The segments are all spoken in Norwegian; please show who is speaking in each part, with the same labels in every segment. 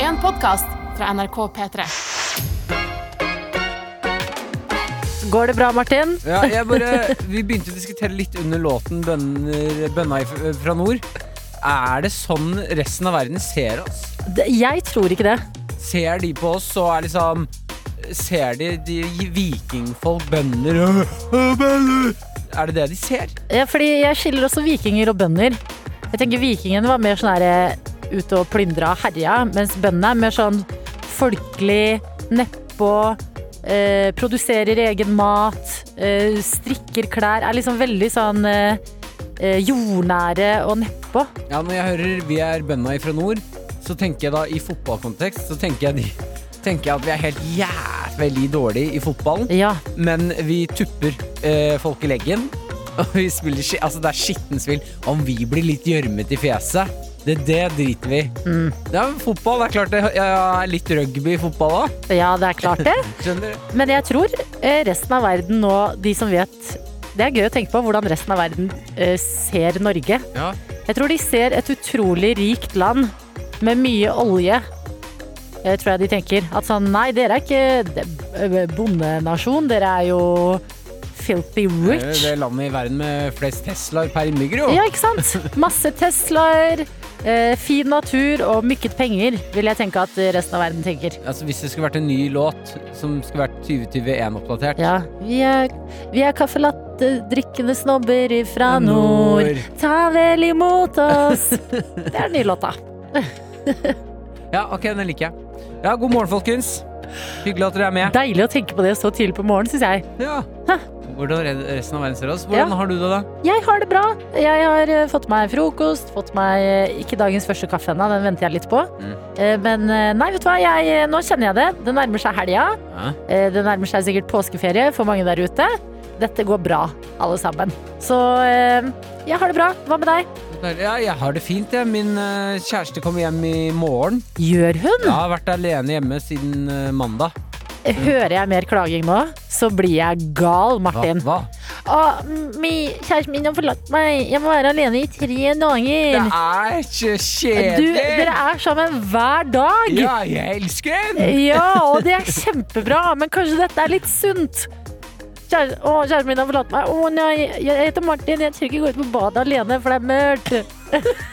Speaker 1: en podkast fra NRK P3.
Speaker 2: Går det bra, Martin?
Speaker 3: Ja, jeg bare, vi begynte å diskutere litt under låten Bønner, 'Bønna i f- fra nord'. Er det sånn resten av verden ser oss?
Speaker 2: Det- Jeg tror ikke det.
Speaker 3: Ser de på oss og er liksom Ser de, de vikingfolk, bønder «Åh, åh, bønder!» Er det det de ser?
Speaker 2: Ja, fordi jeg skiller også vikinger og bønder. Jeg tenker vikingene var mer sånn der eh, ute og plyndra og herja, mens bøndene er mer sånn folkelig, nedpå, eh, produserer egen mat, eh, strikker klær. Er liksom veldig sånn eh, eh, jordnære og nedpå.
Speaker 3: Ja, når jeg hører 'Vi er bønda ifra nord', så tenker jeg da i fotballkontekst Så tenker jeg, de, tenker jeg at vi er helt jævlig dårlige i fotballen.
Speaker 2: Ja.
Speaker 3: Men vi tupper eh, folk i leggen. Og vi spiller ski- Altså, det er skittent spill. Om vi blir litt gjørmete i fjeset, det, det driter vi i.
Speaker 2: mm.
Speaker 3: Ja, men fotball, det er klart det. Ja, ja, litt rugby i fotball òg.
Speaker 2: ja, det er klart det.
Speaker 3: Skjønner du?
Speaker 2: Men jeg tror eh, resten av verden nå, de som vet Det er gøy å tenke på hvordan resten av verden eh, ser Norge.
Speaker 3: Ja.
Speaker 2: Jeg tror de ser et utrolig rikt land med mye olje. Eh, tror jeg de tenker. At sånn, nei, dere er ikke de- eh, bondenasjon. Dere er jo filthy
Speaker 3: Det er jo Eh, det
Speaker 2: rich.
Speaker 3: landet i verden med flest Teslaer per innbygger, jo.
Speaker 2: Ja, ikke sant? Masse Teslaer, eh, fin natur og mykket penger, vil jeg tenke at resten av verden tenker.
Speaker 3: Altså, hvis det skulle vært en ny låt som skulle vært 2021-oppdatert
Speaker 2: Ja, vi er, vi er kaffelatte-drikkende snobber ifra nord. Ta vel imot oss! Det er den nye låta.
Speaker 3: Ja, ok, den liker jeg. Ja, god morgen, folkens. Hyggelig at dere er med.
Speaker 2: Deilig å tenke på det så tidlig på morgenen, syns jeg.
Speaker 3: Ja. Hvordan resten av verden ser oss. Hvordan
Speaker 2: Ja.
Speaker 3: har du det, da?
Speaker 2: Jeg har det bra. Jeg har eh, fått meg frokost, fått meg eh, ikke dagens første kaffe ennå, den venter jeg litt på.
Speaker 3: Mm.
Speaker 2: Eh, Men eh, nei, vet du hva, jeg, eh, nå kjenner jeg det. Det nærmer seg helga.
Speaker 3: Ja.
Speaker 2: Eh, Det nærmer seg sikkert påskeferie for mange der ute. Dette går bra, alle sammen. Så eh, jeg har det bra. Hva med deg?
Speaker 3: Ja, jeg har det fint, jeg. Min eh, kjæreste kommer hjem i morgen.
Speaker 2: Gjør hun?
Speaker 3: Jeg har vært alene hjemme siden eh, mandag.
Speaker 2: Hører jeg mer klaging nå, så blir jeg gal, Martin.
Speaker 3: hva?
Speaker 2: Å, mi, kjæresten min har forlatt meg. Jeg må være alene i tre
Speaker 3: Det
Speaker 2: dager.
Speaker 3: er ikke
Speaker 2: Du,
Speaker 3: kjedelig!
Speaker 2: dere er Eh. sammen hver dag.
Speaker 3: Ja, jeg elsker den!
Speaker 2: Ja, og det er kjempebra, men kanskje dette er litt sunt. Kjære, å, kjæresten min har forlatt meg. Å nei, jeg heter Martin. Jeg tør ikke gå ut på badet alene, for det er mørkt.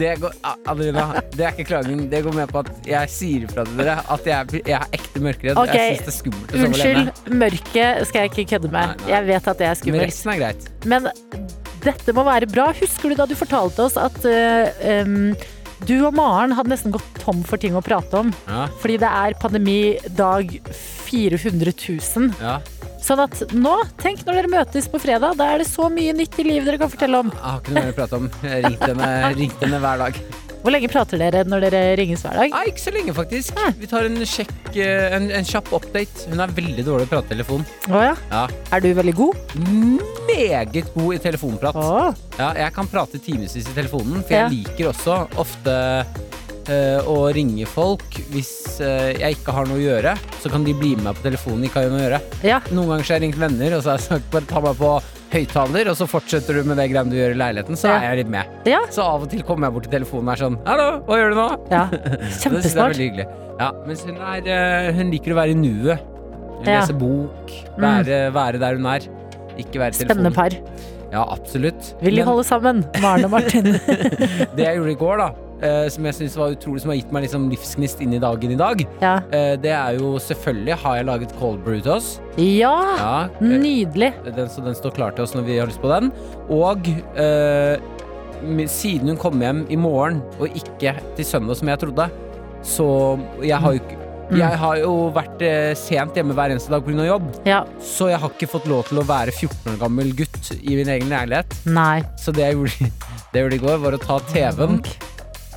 Speaker 3: Det, går, Ah, Adelina, det er ikke klaging. Det går med på at jeg sier fra til dere at jeg, jeg er ekte mørkeredd.
Speaker 2: Ok,
Speaker 3: Jeg syns det er skummelt å sove
Speaker 2: Unnskyld,
Speaker 3: alene.
Speaker 2: mørket skal jeg ikke kødde med.
Speaker 3: Nei, nei.
Speaker 2: Jeg vet at det er
Speaker 3: Men
Speaker 2: skummelt.
Speaker 3: resten er greit.
Speaker 2: Men dette må være bra. Husker du da du fortalte oss at eh, em, du og Maren hadde nesten gått tom for ting å prate om?
Speaker 3: Ja,
Speaker 2: Fordi det er pandemi dag 400 000.
Speaker 3: ja.
Speaker 2: Sånn at nå, tenk når dere møtes på fredag, da er det så mye nytt i livet dere kan fortelle om.
Speaker 3: Jeg har ikke noe mer å prate om. Jeg har ringt henne, ringt henne hver dag.
Speaker 2: Hvor lenge prater dere når dere ringes hver dag?
Speaker 3: Nei, ikke så lenge, faktisk.
Speaker 2: Nei.
Speaker 3: Vi tar en, sjekk, eh, en, en kjapp update. Hun er veldig dårlig til å prate i telefon.
Speaker 2: Å ja.
Speaker 3: Ja.
Speaker 2: Er du veldig god?
Speaker 3: meget god i telefonprat.
Speaker 2: Å.
Speaker 3: Ja, jeg kan prate timevis i telefonen, for jeg
Speaker 2: Ja.
Speaker 3: liker også ofte eh, å ringe folk hvis eh, jeg ikke har noe å gjøre. Så kan de bli med meg på telefonen. Ikke har jeg noe å gjøre.
Speaker 2: Ja.
Speaker 3: Noen ganger så har jeg ringt venner, og så har jeg sagt bare ta meg på høyttaler, og så fortsetter du med det greiene du gjør i leiligheten, så
Speaker 2: Ja.
Speaker 3: er jeg litt med.
Speaker 2: Ja.
Speaker 3: Så av og til kommer jeg bort til telefonen og er sånn hallo, hva gjør du nå?
Speaker 2: ja.
Speaker 3: Det synes jeg er
Speaker 2: Kjempesmart.
Speaker 3: veldig hyggelig. Ja, mens hun, er, eh, hun liker å være i nuet. Hun
Speaker 2: Ja.
Speaker 3: Lese bok,
Speaker 2: Mm.
Speaker 3: være, være der hun er. Ikke være i telefonen.
Speaker 2: Spennende par.
Speaker 3: Ja, absolutt.
Speaker 2: Vil de
Speaker 3: Men-
Speaker 2: holde sammen, Maren og Martin?
Speaker 3: Det jeg gjorde i går, da, eh, som jeg synes var utrolig, som har gitt meg liksom livsgnist inn i dagen i dag,
Speaker 2: Ja.
Speaker 3: eh, det er jo selvfølgelig har jeg laget cold brew til oss.
Speaker 2: ja.
Speaker 3: Ja, eh,
Speaker 2: Nydelig.
Speaker 3: den, så den står klar til oss når vi har lyst på den. Og eh, mi- siden hun kom hjem i morgen, og ikke til søndag som jeg trodde, så jeg har jo ikke
Speaker 2: Mm.
Speaker 3: jeg har jo vært eh, sent hjemme hver eneste dag pga. jobb,
Speaker 2: Ja.
Speaker 3: så jeg har ikke fått lov til å være 14 år gammel gutt i min egen leilighet.
Speaker 2: Nei.
Speaker 3: Så det jeg gjorde, det jeg gjorde i går, var å ta TV-en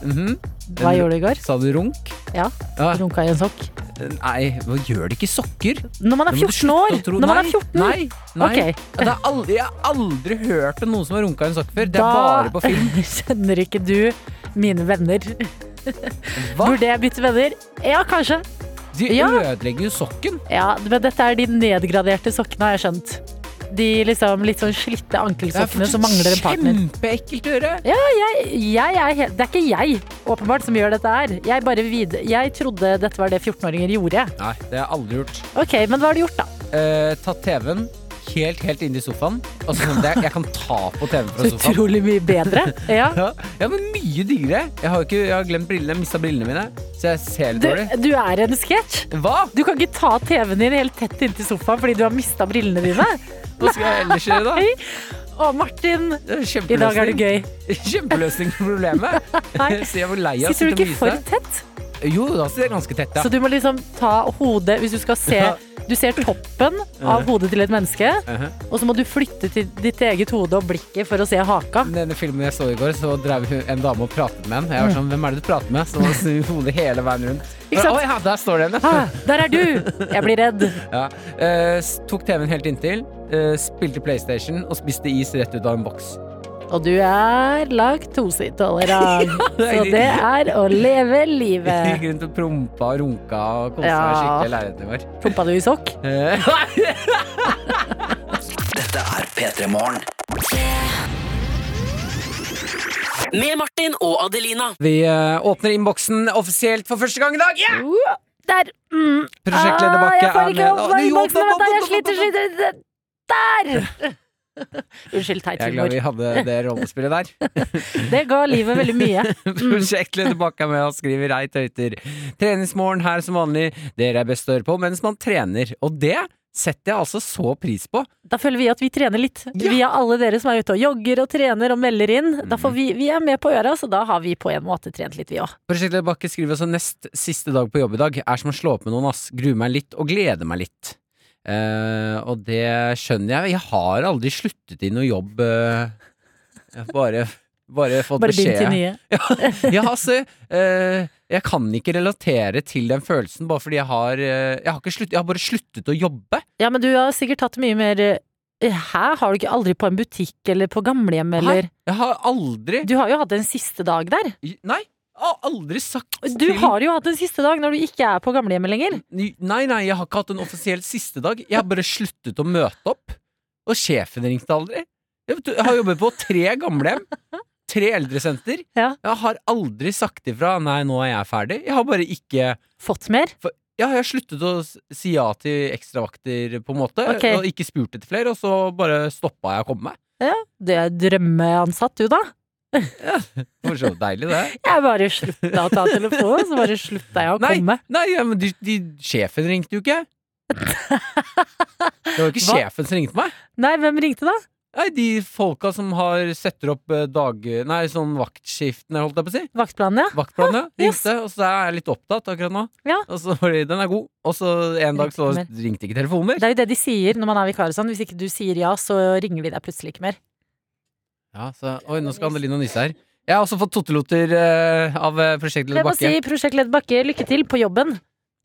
Speaker 3: Mm. Mhm.
Speaker 2: Hva gjorde du i går?
Speaker 3: Sa du runk?
Speaker 2: Ja.
Speaker 3: Ja.
Speaker 2: Runka i en sokk.
Speaker 3: Nei, hva gjør det ikke sokker?
Speaker 2: Når man er
Speaker 3: Nå må du
Speaker 2: 14
Speaker 3: slutte
Speaker 2: år!
Speaker 3: å tro-
Speaker 2: Når man er
Speaker 3: Nei,
Speaker 2: 14!
Speaker 3: Nei, nei.
Speaker 2: Ok.
Speaker 3: Ja, Det er aldri, jeg har aldri hørt om noen som har runka i en sokk før. Det er bare på film.
Speaker 2: skjønner ikke du mine venner.
Speaker 3: Hva?
Speaker 2: Burde jeg bytte venner? Ja, kanskje.
Speaker 3: De
Speaker 2: Ja.
Speaker 3: ødelegger jo sokken.
Speaker 2: Ja, men dette er de nedgraderte sokkene, har jeg skjønt. de liksom litt sånn slitte ankelsokkene som mangler en partner.
Speaker 3: Kjempeekkelt å gjøre!
Speaker 2: Jeg er helt, det er ikke jeg åpenbart som gjør dette her. Jeg, bare vid, jeg trodde dette var det 14-åringer gjorde.
Speaker 3: Nei, det har jeg aldri gjort.
Speaker 2: Ok, Men hva har du gjort, da?
Speaker 3: Eh, tatt TV-en helt, helt inn i sofaen. Altså, sånn at jeg, jeg kan ta på TV-en fra sofaen.
Speaker 2: Utrolig mye bedre. Ja.
Speaker 3: Ja, ja, men mye diggere. Jeg har, jo ikke, jeg har glemt brillene, mista brillene mine, så jeg ser litt
Speaker 2: Du,
Speaker 3: dårlig.
Speaker 2: du er en sketsj.
Speaker 3: Hva?
Speaker 2: Du kan ikke ta TV-en din helt tett inntil sofaen fordi du har mista brillene dine.
Speaker 3: Hva skal jeg ellers gjøre, da?
Speaker 2: Hei. Å, Martin.
Speaker 3: Det er
Speaker 2: I dag er du
Speaker 3: kjempeløsning.
Speaker 2: gøy.
Speaker 3: Kjempeløsning på problemet.
Speaker 2: Nei.
Speaker 3: Så jeg var lei av å
Speaker 2: Sitter du
Speaker 3: sitte og
Speaker 2: ikke for
Speaker 3: myse.
Speaker 2: tett?
Speaker 3: Jo, da sitter jeg ganske tett,
Speaker 2: Så
Speaker 3: ja.
Speaker 2: du må liksom ta hodet Hvis du skal se
Speaker 3: Ja.
Speaker 2: Du ser toppen av hodet til et menneske,
Speaker 3: Uh-huh.
Speaker 2: og så må du flytte til ditt eget hode og blikket for å se haka.
Speaker 3: denne filmen jeg så i går, så drev hun- en dame og pratet med en. Jeg var sånn, hvem er det du prater med? Så snur hun hodet hele veien rundt.
Speaker 2: Mm. Ikke sant?
Speaker 3: Oi, ja, der står det en.
Speaker 2: Ah, der er du! Jeg blir redd.
Speaker 3: Ja. Eh, s- tok TV-en helt inntil, eh, spilte PlayStation og spiste is rett ut av en boks.
Speaker 2: Og du er laktoseintolerant, så det er å leve
Speaker 3: Gikk
Speaker 2: livet.
Speaker 3: rundt og prompa og runka og koste meg
Speaker 2: Ja.
Speaker 3: skikkelig i leiligheten vår.
Speaker 2: Prompa du i sokk?
Speaker 3: Eh,
Speaker 4: Dette er P3 Morgen.
Speaker 5: Med Martin og Adelina.
Speaker 3: Vi eh, åpner innboksen offisielt for første gang i dag. Yeah!
Speaker 2: Uh, Der! Mm.
Speaker 3: Prosjektleder
Speaker 2: Ah,
Speaker 3: Bakke
Speaker 2: jeg får ikke
Speaker 3: er med.
Speaker 2: åpna
Speaker 3: Å, jo,
Speaker 2: innboksen,
Speaker 3: opp, opp,
Speaker 2: vet du. Jeg
Speaker 3: opp, opp,
Speaker 2: sliter,
Speaker 3: opp, opp.
Speaker 2: sliter. sliter. Der! Unnskyld, teit
Speaker 3: Jeg er glad
Speaker 2: humor.
Speaker 3: vi hadde det rollespillet der.
Speaker 2: Det ga livet veldig mye.
Speaker 3: Prosjektleder Bakke er med og skriver ei tøyter. Treningsmorgen her som vanlig. Dere er best å høre på mens man trener. Og det setter jeg altså så pris på.
Speaker 2: Da føler vi at vi trener litt. Vi er alle dere som er ute og jogger og trener og melder inn. Da
Speaker 3: Mhm.
Speaker 2: får vi, vi er med på øra, så da har vi på en måte trent litt, vi òg.
Speaker 3: Prosjektleder Bakke skriver altså nest siste dag på jobb i dag er som å slå opp med noen, ass. Gruer meg litt og gleder meg litt. Eh, og det skjønner jeg. Jeg har aldri sluttet i noe jobb. eh. Jeg har bare, bare fått
Speaker 2: Bare begynt
Speaker 3: beskjed.
Speaker 2: til nye.
Speaker 3: Ja, altså eh, Jeg kan ikke relatere til den følelsen bare fordi jeg har eh, Jeg har, ikke slutt, jeg har bare sluttet å jobbe.
Speaker 2: Ja, men du har sikkert tatt mye mer eh, Hæ, har du ikke aldri på en butikk eller på gamlehjem eller
Speaker 3: Hæ? Jeg har aldri
Speaker 2: Du har jo hatt en siste dag der.
Speaker 3: Nei! Jeg har aldri sagt
Speaker 2: Du har jo hatt en siste dag når du ikke er på gamlehjemmet lenger.
Speaker 3: til Nei, nei, jeg har ikke hatt en offisiell siste dag. Jeg har bare sluttet å møte opp. Og sjefen ringte aldri. Jeg vet- jeg har jobbet på tre gamlehjem. Tre eldresenter.
Speaker 2: Ja.
Speaker 3: Jeg har aldri sagt ifra 'nei, nå er jeg ferdig'. Jeg har bare ikke
Speaker 2: Fått mer?
Speaker 3: Ja, jeg har sluttet å s- si ja til ekstravakter, på en måte.
Speaker 2: Ok.
Speaker 3: Og ikke spurt etter flere, og så bare stoppa jeg å komme meg.
Speaker 2: Du er drømmeansatt, du da.
Speaker 3: Det var så deilig, det.
Speaker 2: Jeg bare slutta å ta telefonen, så bare slutta jeg å
Speaker 3: Nei,
Speaker 2: komme.
Speaker 3: Nei, ja, men de, de, sjefen ringte jo ikke. Det var ikke
Speaker 2: Hva?
Speaker 3: sjefen som ringte meg.
Speaker 2: Nei, hvem ringte da?
Speaker 3: Nei, de folka som har setter opp eh, dag... Nei, sånn vaktskiftene, holdt jeg på å si.
Speaker 2: Vaktplanen, ja.
Speaker 3: Vaktplanen,
Speaker 2: yes.
Speaker 3: ja. Ringte, og så er jeg litt opptatt akkurat nå.
Speaker 2: Ja.
Speaker 3: Og så var det, den er god. Og så en dag så
Speaker 2: Ringte
Speaker 3: ringte ikke telefonen mer.
Speaker 2: Det er jo det de sier når man er vikar og sånn. Hvis ikke du sier ja, så ringer de deg plutselig ikke mer.
Speaker 3: Ja, så, oi, nå skal Andeline og Nisse her. Jeg har også fått tottelotter eh, av eh,
Speaker 2: Jeg
Speaker 3: prosjektleder
Speaker 2: må
Speaker 3: Bakke.
Speaker 2: si prosjektleder Bakke, lykke til på jobben.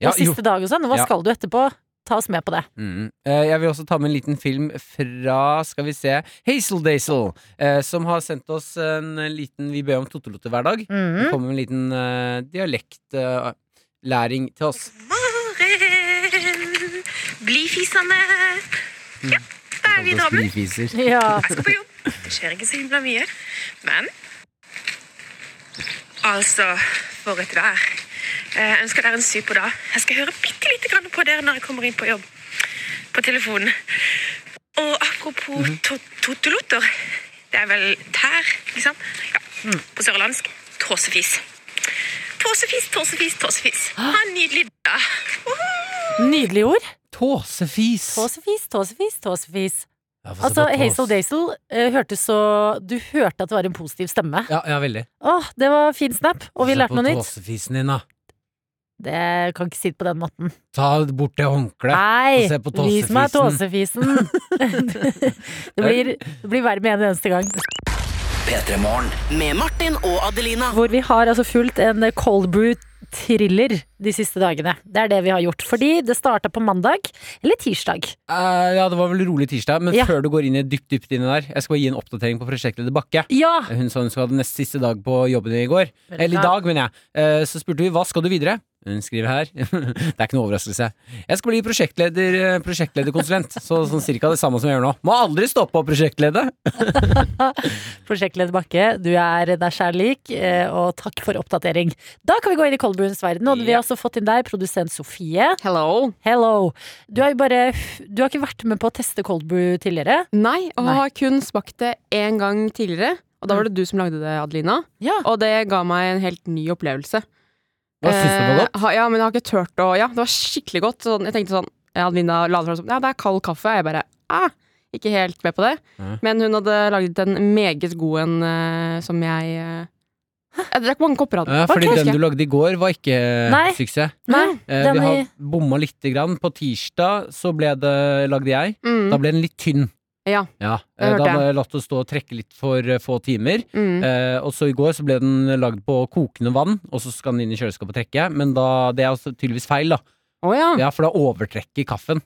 Speaker 3: Ja,
Speaker 2: og siste dag og sånn. Hva
Speaker 3: Ja.
Speaker 2: skal du etterpå? Ta oss med på det.
Speaker 3: jo. Mm. Eh, Jeg vil også ta med en liten film fra, skal vi se, Hazel Dazel, eh, som har sendt oss en liten Vi ber om tottelotter hver dag. Det
Speaker 2: Mm.
Speaker 3: kommer med en liten eh, dialektlæring til oss.
Speaker 6: Maren, bli fisende. Ja, da er vi damer.
Speaker 3: Skrifiser.
Speaker 2: Ja.
Speaker 6: Jeg skal på jobb. Det skjer ikke så himla mye. Men altså, for et vær. Eh, Jeg ønsker dere en super dag. Jeg skal høre bitte lite grann på dere når jeg kommer inn på jobb. På telefonen. Og apropos to totolotter. Det er vel tær, liksom? Ja. På sørlandsk. Tåsefis. Tåsefis, tåsefis, tåsefis. Ha en nydelig dag. Woohoo!
Speaker 2: Nydelige ord.
Speaker 3: Tåsefis.
Speaker 2: Tåsefis, tåsefis, tåsefis.
Speaker 3: Ja, få se
Speaker 2: Altså,
Speaker 3: på tås.
Speaker 2: Hazel Dazel eh, hørtes så Du hørte at det var en positiv stemme.
Speaker 3: Ja, ja, veldig.
Speaker 2: Åh, det var fin snap, og vi
Speaker 3: Se
Speaker 2: lærte
Speaker 3: på
Speaker 2: noe nytt.
Speaker 3: Tåsefisen din, da.
Speaker 2: Det kan ikke si det på den måten.
Speaker 3: Ta bort det håndkleet.
Speaker 2: Nei!
Speaker 3: og se på
Speaker 2: Vis meg
Speaker 3: tåsefisen.
Speaker 2: tåsefisen! det, blir, det blir verre med en eneste gang.
Speaker 4: P3 Morgen.
Speaker 5: Med Martin og Adelina.
Speaker 2: Hvor vi har altså fulgt en cold brew thriller de siste dagene. Det er det vi har gjort. Fordi det starta på mandag, eller tirsdag.
Speaker 3: Eh, ja, det var vel rolig tirsdag, men
Speaker 2: Ja.
Speaker 3: før du går inn i dypt, dypt inn i der, jeg skal bare gi en oppdatering på prosjektleder Bakke.
Speaker 2: Ja!
Speaker 3: Hun sa hun skulle ha den neste siste dag på jobben i går. Eller i
Speaker 2: bra.
Speaker 3: dag, mener jeg. Eh, Så spurte vi hva skal du videre. Hun skriver her Det er ikke noe overraskelse. Jeg skal bli prosjektleder, eh, prosjektlederkonsulent. Så sånn cirka det samme som jeg gjør nå. Må aldri stoppe å prosjektlede!
Speaker 2: Prosjektleder Bakke, du er deg sjæl lik, eh, og takk for oppdatering. Da kan vi gå inn i Kolbuens verden, og vi har også fått inn deg, produsent Sofie.
Speaker 7: Hello.
Speaker 2: Hello. Du har, jo bare, du har ikke vært med på å teste cold brew tidligere?
Speaker 7: Nei, og
Speaker 2: Nei.
Speaker 7: har kun smakt det én gang tidligere. Og da var det du som lagde det, Adelina.
Speaker 2: Ja.
Speaker 7: Og det ga meg en helt ny opplevelse.
Speaker 3: Hva syns du var godt?
Speaker 7: Eh, ha- ja, men jeg har ikke turt å Ja, det var skikkelig godt. Sånn, jeg tenkte sånn ja, Adelina la det fram som Ja, det er kald kaffe. Jeg bare ah, Ikke helt med på det.
Speaker 3: Mhm.
Speaker 7: Men hun hadde laget en meget god en eh, som jeg eh, Jeg drakk mange kopper av den.
Speaker 3: Ja, fordi
Speaker 7: Ok.
Speaker 3: den du lagde i går, var ikke
Speaker 2: Eh, Nei.
Speaker 3: suksess.
Speaker 2: Nei?
Speaker 3: Eh,
Speaker 2: Den
Speaker 3: vi har
Speaker 2: i-
Speaker 3: bomma lite grann. På tirsdag så ble det, lagde jeg. Da
Speaker 7: mm,
Speaker 3: ble den litt tynn.
Speaker 7: Ja, det
Speaker 3: eh,
Speaker 7: hørte
Speaker 3: Da
Speaker 7: jeg.
Speaker 3: hadde jeg latt det stå og trekke litt for eh, få timer.
Speaker 7: mm.
Speaker 3: Eh, og så i går så ble den lagd på kokende vann, og så skal den inn i kjøleskapet og trekke. Men da, det er også tydeligvis feil, da.
Speaker 7: Å ja.
Speaker 3: Ja, for da overtrekker kaffen.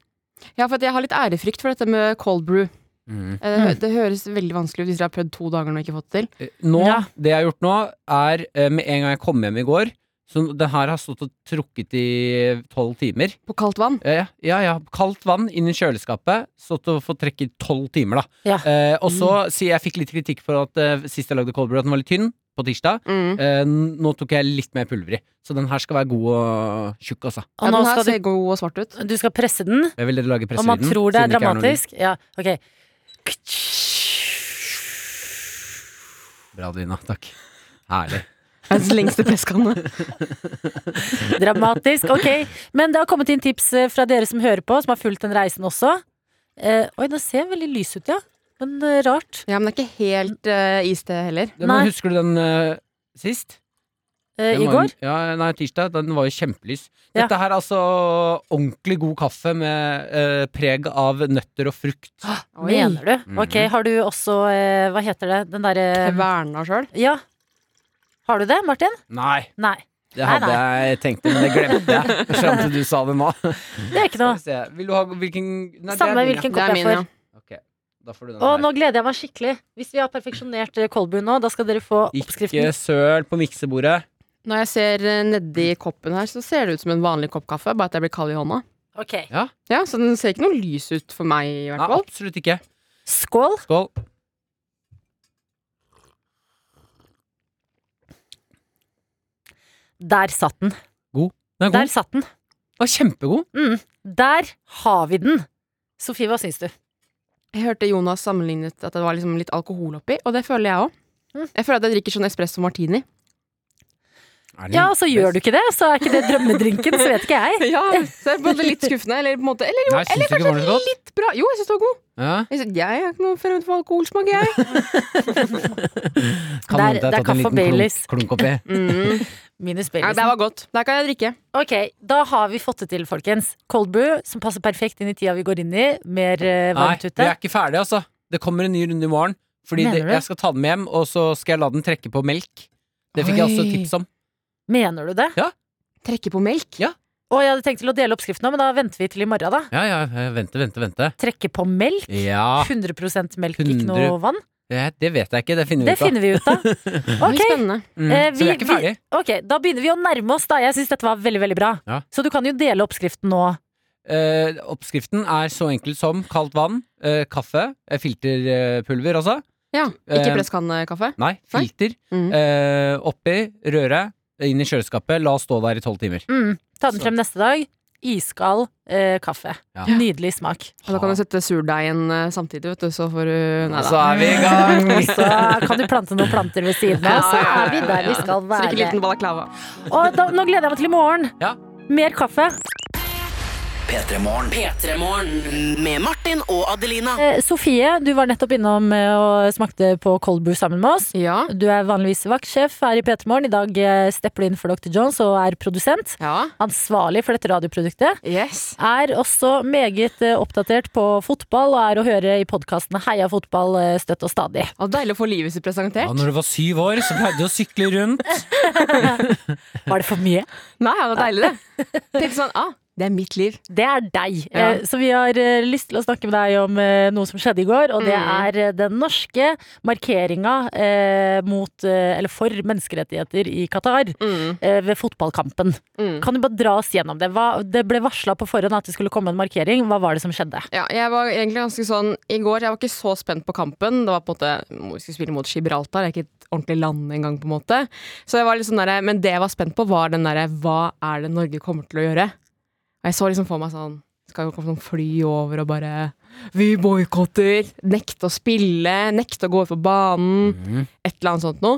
Speaker 7: ja, for at jeg har litt ærefrykt for dette med cold brew. Eh,
Speaker 3: Mm.
Speaker 7: Det, hø- det høres veldig vanskelig ut hvis dere har prøvd to dager og ikke fått det til.
Speaker 3: Eh, Nå,
Speaker 2: Ja.
Speaker 3: Det jeg har gjort nå, er eh, med en gang jeg kom hjem i går Så den her har stått og trukket i tolv timer.
Speaker 7: På kaldt vann.
Speaker 3: Eh, ja, ja. Kaldt vann inn i kjøleskapet. Stått og fått trekke i tolv timer, da.
Speaker 2: Ja. Mm.
Speaker 3: Eh, og så sier jeg fikk litt kritikk for at eh, sist jeg lagde cold brew, at den var litt tynn på tirsdag.
Speaker 7: Mm.
Speaker 3: Eh, n- nå tok jeg litt mer pulver i. Så den her skal være god og tjukk, altså.
Speaker 7: Ja,
Speaker 2: Og nå
Speaker 7: den her
Speaker 2: skal
Speaker 7: ser god og svart ut.
Speaker 2: du, du skal presse den,
Speaker 3: Jeg vil dere lage
Speaker 2: og man
Speaker 3: presselyden.
Speaker 2: tror det
Speaker 3: siden
Speaker 2: er
Speaker 3: ikke noe lyd.
Speaker 2: dramatisk. Ja, ok.
Speaker 3: Bra, Dina. Takk. Herlig.
Speaker 7: Verdens lengste presskanne.
Speaker 2: Dramatisk, ok. Men det har kommet inn tips eh, fra dere som hører på, som har fulgt den reisen også. Eh, oi, den ser veldig lys ut, ja. Men eh, rart.
Speaker 7: Ja, men det er ikke helt uh, iste heller.
Speaker 3: Ja,
Speaker 2: Nei.
Speaker 3: Men husker du den eh, sist?
Speaker 2: Eh,
Speaker 3: Den
Speaker 2: I
Speaker 3: var
Speaker 2: går.
Speaker 3: jo- Ja, nei, tirsdag. Den var jo kjempelys.
Speaker 2: Ja.
Speaker 3: Dette her er altså ordentlig god kaffe med eh, preg av nøtter og frukt.
Speaker 7: Oi.
Speaker 2: Mener du?
Speaker 3: Mhm.
Speaker 2: Ok, har du også eh, Hva heter det? Den derre
Speaker 7: Jeg verna sjøl.
Speaker 2: Ja. Har du det, Martin?
Speaker 3: Nei,
Speaker 2: Nei.
Speaker 3: det
Speaker 2: Nei,
Speaker 3: hadde jeg tenkt, men det glemte jeg fram til du sa det nå.
Speaker 2: Det er ikke noe.
Speaker 3: Skal vi se. Vil du ha hvilken Nei, det er
Speaker 2: Samme
Speaker 3: min, ja.
Speaker 2: hvilken
Speaker 7: Det
Speaker 2: kopp
Speaker 7: er
Speaker 2: jeg
Speaker 7: min, ja.
Speaker 2: får.
Speaker 3: Ok, da får du den
Speaker 2: Å,
Speaker 3: her.
Speaker 2: nå gleder jeg meg skikkelig. Hvis vi har perfeksjonert eh, cold brew nå, da skal dere få
Speaker 3: Ikke
Speaker 2: oppskriften.
Speaker 3: søl på miksebordet.
Speaker 7: Når jeg ser eh, nedi koppen her, så ser det ut som en vanlig kopp kaffe, bare at jeg blir kald i hånda.
Speaker 2: Ok.
Speaker 7: Ja, Så den ser ikke noe lys ut for meg, i
Speaker 3: Nei,
Speaker 7: hvert fall.
Speaker 3: absolutt ikke.
Speaker 2: Skål.
Speaker 3: Skål.
Speaker 2: Der satt den.
Speaker 3: Den er
Speaker 2: Der
Speaker 3: god.
Speaker 2: satt den.
Speaker 3: Den er kjempegod.
Speaker 2: Mm. Der har vi den. Sofie, hva syns du?
Speaker 3: Mm.
Speaker 7: Jeg hørte Jonas sammenlignet at det var liksom litt alkohol oppi, og det føler jeg òg.
Speaker 2: Mm.
Speaker 7: Jeg føler at jeg drikker sånn espresso martini.
Speaker 3: Er den
Speaker 2: Ja, så gjør du ikke det, så er ikke det drømmedrinken, så vet ikke jeg.
Speaker 7: Ja, så det er både litt skuffende, eller på en måte Eller jo,
Speaker 3: Nei, syns du ikke det var noe godt?
Speaker 7: litt bra. Jo, jeg syns det var god.
Speaker 3: Ja.
Speaker 7: Jeg, synes, jeg er ikke noe fremmed for alkoholsmak, jeg.
Speaker 3: Kan
Speaker 2: Der-
Speaker 3: hende jeg har
Speaker 2: der
Speaker 3: tatt en
Speaker 2: kaffe
Speaker 3: liten
Speaker 2: Baileys.
Speaker 3: Klunk, klunk oppi.
Speaker 7: Mm.
Speaker 2: Minus
Speaker 7: Nei,
Speaker 2: Baileysen.
Speaker 7: det var godt. Der kan jeg drikke.
Speaker 2: Ok, da har vi fått det til, folkens. Cold brew, som passer perfekt inn i tida vi går inn i. Mer eh, varmt
Speaker 3: Nei,
Speaker 2: ute.
Speaker 3: vi er ikke ferdige, altså. Det kommer en ny runde i morgen. Fordi
Speaker 2: Mener
Speaker 3: det,
Speaker 2: du det?
Speaker 3: jeg skal ta den med hjem, og så skal jeg la den trekke på melk. Det fikk jeg
Speaker 7: Oi.
Speaker 3: også tips om.
Speaker 2: Mener du det?
Speaker 7: Trekke på melk.
Speaker 2: Å, jeg hadde tenkt til å dele oppskriften nå, men da venter vi til i morgen, da.
Speaker 3: Ja, ja, eh, vente, vente, vente.
Speaker 2: Trekke på melk.
Speaker 3: Ja,
Speaker 2: 100 melk, ikke noe
Speaker 3: 100.
Speaker 2: vann.
Speaker 3: det, det vet jeg ikke. Det finner vi
Speaker 2: Det
Speaker 3: ut av.
Speaker 2: finner vi ut av.
Speaker 7: Det
Speaker 2: Ok,
Speaker 7: blir spennende.
Speaker 3: Mm.
Speaker 2: eh,
Speaker 3: så vi er ikke ferdige.
Speaker 2: ok, da begynner vi å nærme oss, da. Jeg syns dette var veldig, veldig bra.
Speaker 3: Ja.
Speaker 2: Så du kan jo dele oppskriften nå.
Speaker 3: Eh, oppskriften er så enkel som kaldt vann, eh, kaffe, eh, filterpulver altså.
Speaker 7: Ja,
Speaker 3: Eh,
Speaker 7: Ikke presskannekaffe.
Speaker 3: Nei,
Speaker 7: Nei.
Speaker 3: filter.
Speaker 7: Mm.
Speaker 3: Eh, oppi, røre, inn i kjøleskapet, la oss stå der i tolv timer.
Speaker 2: Mm, ta den
Speaker 3: Så-
Speaker 2: frem neste dag. Iskald eh, kaffe.
Speaker 3: Ja.
Speaker 2: Nydelig smak.
Speaker 7: Og da kan du sette surdeigen eh, samtidig, vet du, så får du Nei
Speaker 3: Så
Speaker 7: da.
Speaker 3: er vi i gang!
Speaker 2: Så kan du plante noen planter ved siden av, så er vi der vi skal
Speaker 7: Så det er ikke
Speaker 2: være.
Speaker 7: liten balaklava.
Speaker 2: Og da, nå gleder jeg meg til i morgen.
Speaker 3: Ja.
Speaker 2: Mer kaffe.
Speaker 4: P3morgen.
Speaker 5: P3morgen med Martin og Adelina.
Speaker 2: Eh, Sofie, du var nettopp innom eh, og smakte på cold brew sammen med oss.
Speaker 7: Ja.
Speaker 2: Du er vanligvis vaktsjef her i P3 Morgen. I dag eh, stepper du inn for Dr. Jones og er produsent.
Speaker 7: ja.
Speaker 2: Ansvarlig for dette radioproduktet.
Speaker 7: Yes.
Speaker 2: Er også meget eh, oppdatert på fotball og er å høre i podkastene Heia fotball eh, støtt og stadig.
Speaker 7: Og deilig å få livet sitt presentert.
Speaker 3: Ja, når du var syv år, så pleide du å sykle rundt.
Speaker 2: Var det for mye?
Speaker 7: Nei, ja, det er deilig, det. Tenkte sånn, ah, Det er mitt liv.
Speaker 2: Det er deg.
Speaker 7: Ja.
Speaker 2: Eh, Så vi har eh, lyst til å snakke med deg om eh, noe som skjedde i går, og det
Speaker 7: Mm.
Speaker 2: er eh, den norske markeringa eh, mot, eh, eller for menneskerettigheter i Qatar
Speaker 7: Mm.
Speaker 2: eh, ved fotballkampen.
Speaker 7: Mm.
Speaker 2: Kan du bare dra oss gjennom det? Hva, det ble varsla på forhånd at det skulle komme en markering. Hva var det som skjedde?
Speaker 7: Ja, jeg var egentlig ganske sånn I går jeg var ikke så spent på kampen. Det var på en måte Vi skulle spille mot Gibraltar. Det er ikke et ordentlig land engang, på en måte. Så jeg var litt sånn derre Men det jeg var spent på, var den derre Hva er det Norge kommer til å gjøre? Og jeg så liksom for meg sånn Skal jo komme sånn fly over og bare Vi boikotter! Nekte å spille. Nekte å gå ut på banen.
Speaker 3: Mm.
Speaker 7: Et eller annet sånt noe.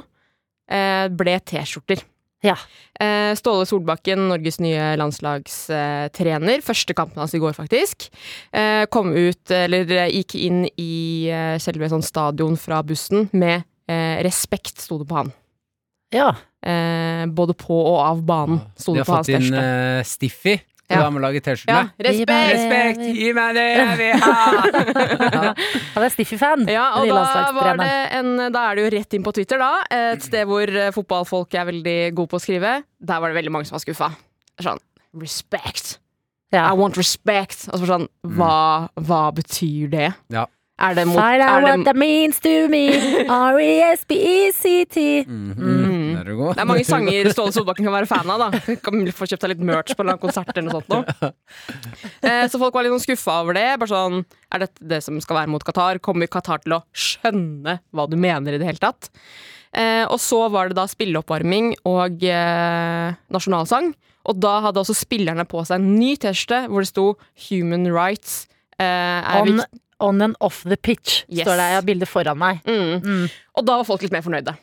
Speaker 7: Eh, ble T-skjorter.
Speaker 2: Ja.
Speaker 7: Eh, Ståle Solbakken, Norges nye landslagstrener. Første kampen hans i går, faktisk. Eh, Kom ut, eller eh, gikk inn i eh, selve sånn stadion fra bussen med eh, 'respekt', sto det på han.
Speaker 2: Ja.
Speaker 7: Eh, Både på og av banen sto
Speaker 3: Vi
Speaker 7: det
Speaker 3: har
Speaker 7: på hans
Speaker 3: fått inn
Speaker 7: T-skjorte.
Speaker 3: eh, Stiffy på
Speaker 7: Ja.
Speaker 3: damelaget i
Speaker 7: Ja, Eh,
Speaker 3: T-skjorte.
Speaker 7: respekt!
Speaker 3: Respekt! Gi meg det jeg vil ha!
Speaker 2: Han er Stiffy-fan.
Speaker 7: Ja, og
Speaker 2: de
Speaker 7: da, var
Speaker 2: landslagstrenerne.
Speaker 7: det en, da er det jo rett inn på Twitter, da. Et sted hvor eh, fotballfolk er veldig gode på å skrive. Der var det veldig mange som var skuffa. Sånn respect.
Speaker 2: Ja.
Speaker 7: I want respect. Og så var det sånn, hva, hva betyr det?
Speaker 3: Ja.
Speaker 7: Er det mot
Speaker 2: Find out
Speaker 7: er
Speaker 2: what
Speaker 7: det,
Speaker 2: that means to me. E R-E-S-P-E-C-T.
Speaker 3: Mhm. Der er du god.
Speaker 7: Mm. det er mange sanger Ståle Solbakken kan være fan av, da. Kan få kjøpt seg litt merch på en eller annen konsert eller noe sånt noe. Eh, Så folk var litt sånn skuffa over det. Bare sånn, er dette det som skal være mot Qatar? Kommer Qatar til å skjønne hva du mener i det hele tatt? Eh, og så var det da spilleoppvarming og eh, nasjonalsang. Og da hadde også spillerne på seg en ny T-skjorte hvor det sto 'Human rights'. Eh, er
Speaker 2: On,
Speaker 7: viktig.
Speaker 2: on and off the pitch,
Speaker 7: Yes.
Speaker 2: står det. Jeg har bildet foran meg.
Speaker 7: Mm.
Speaker 2: Mm.
Speaker 7: Og da var folk litt mer fornøyde.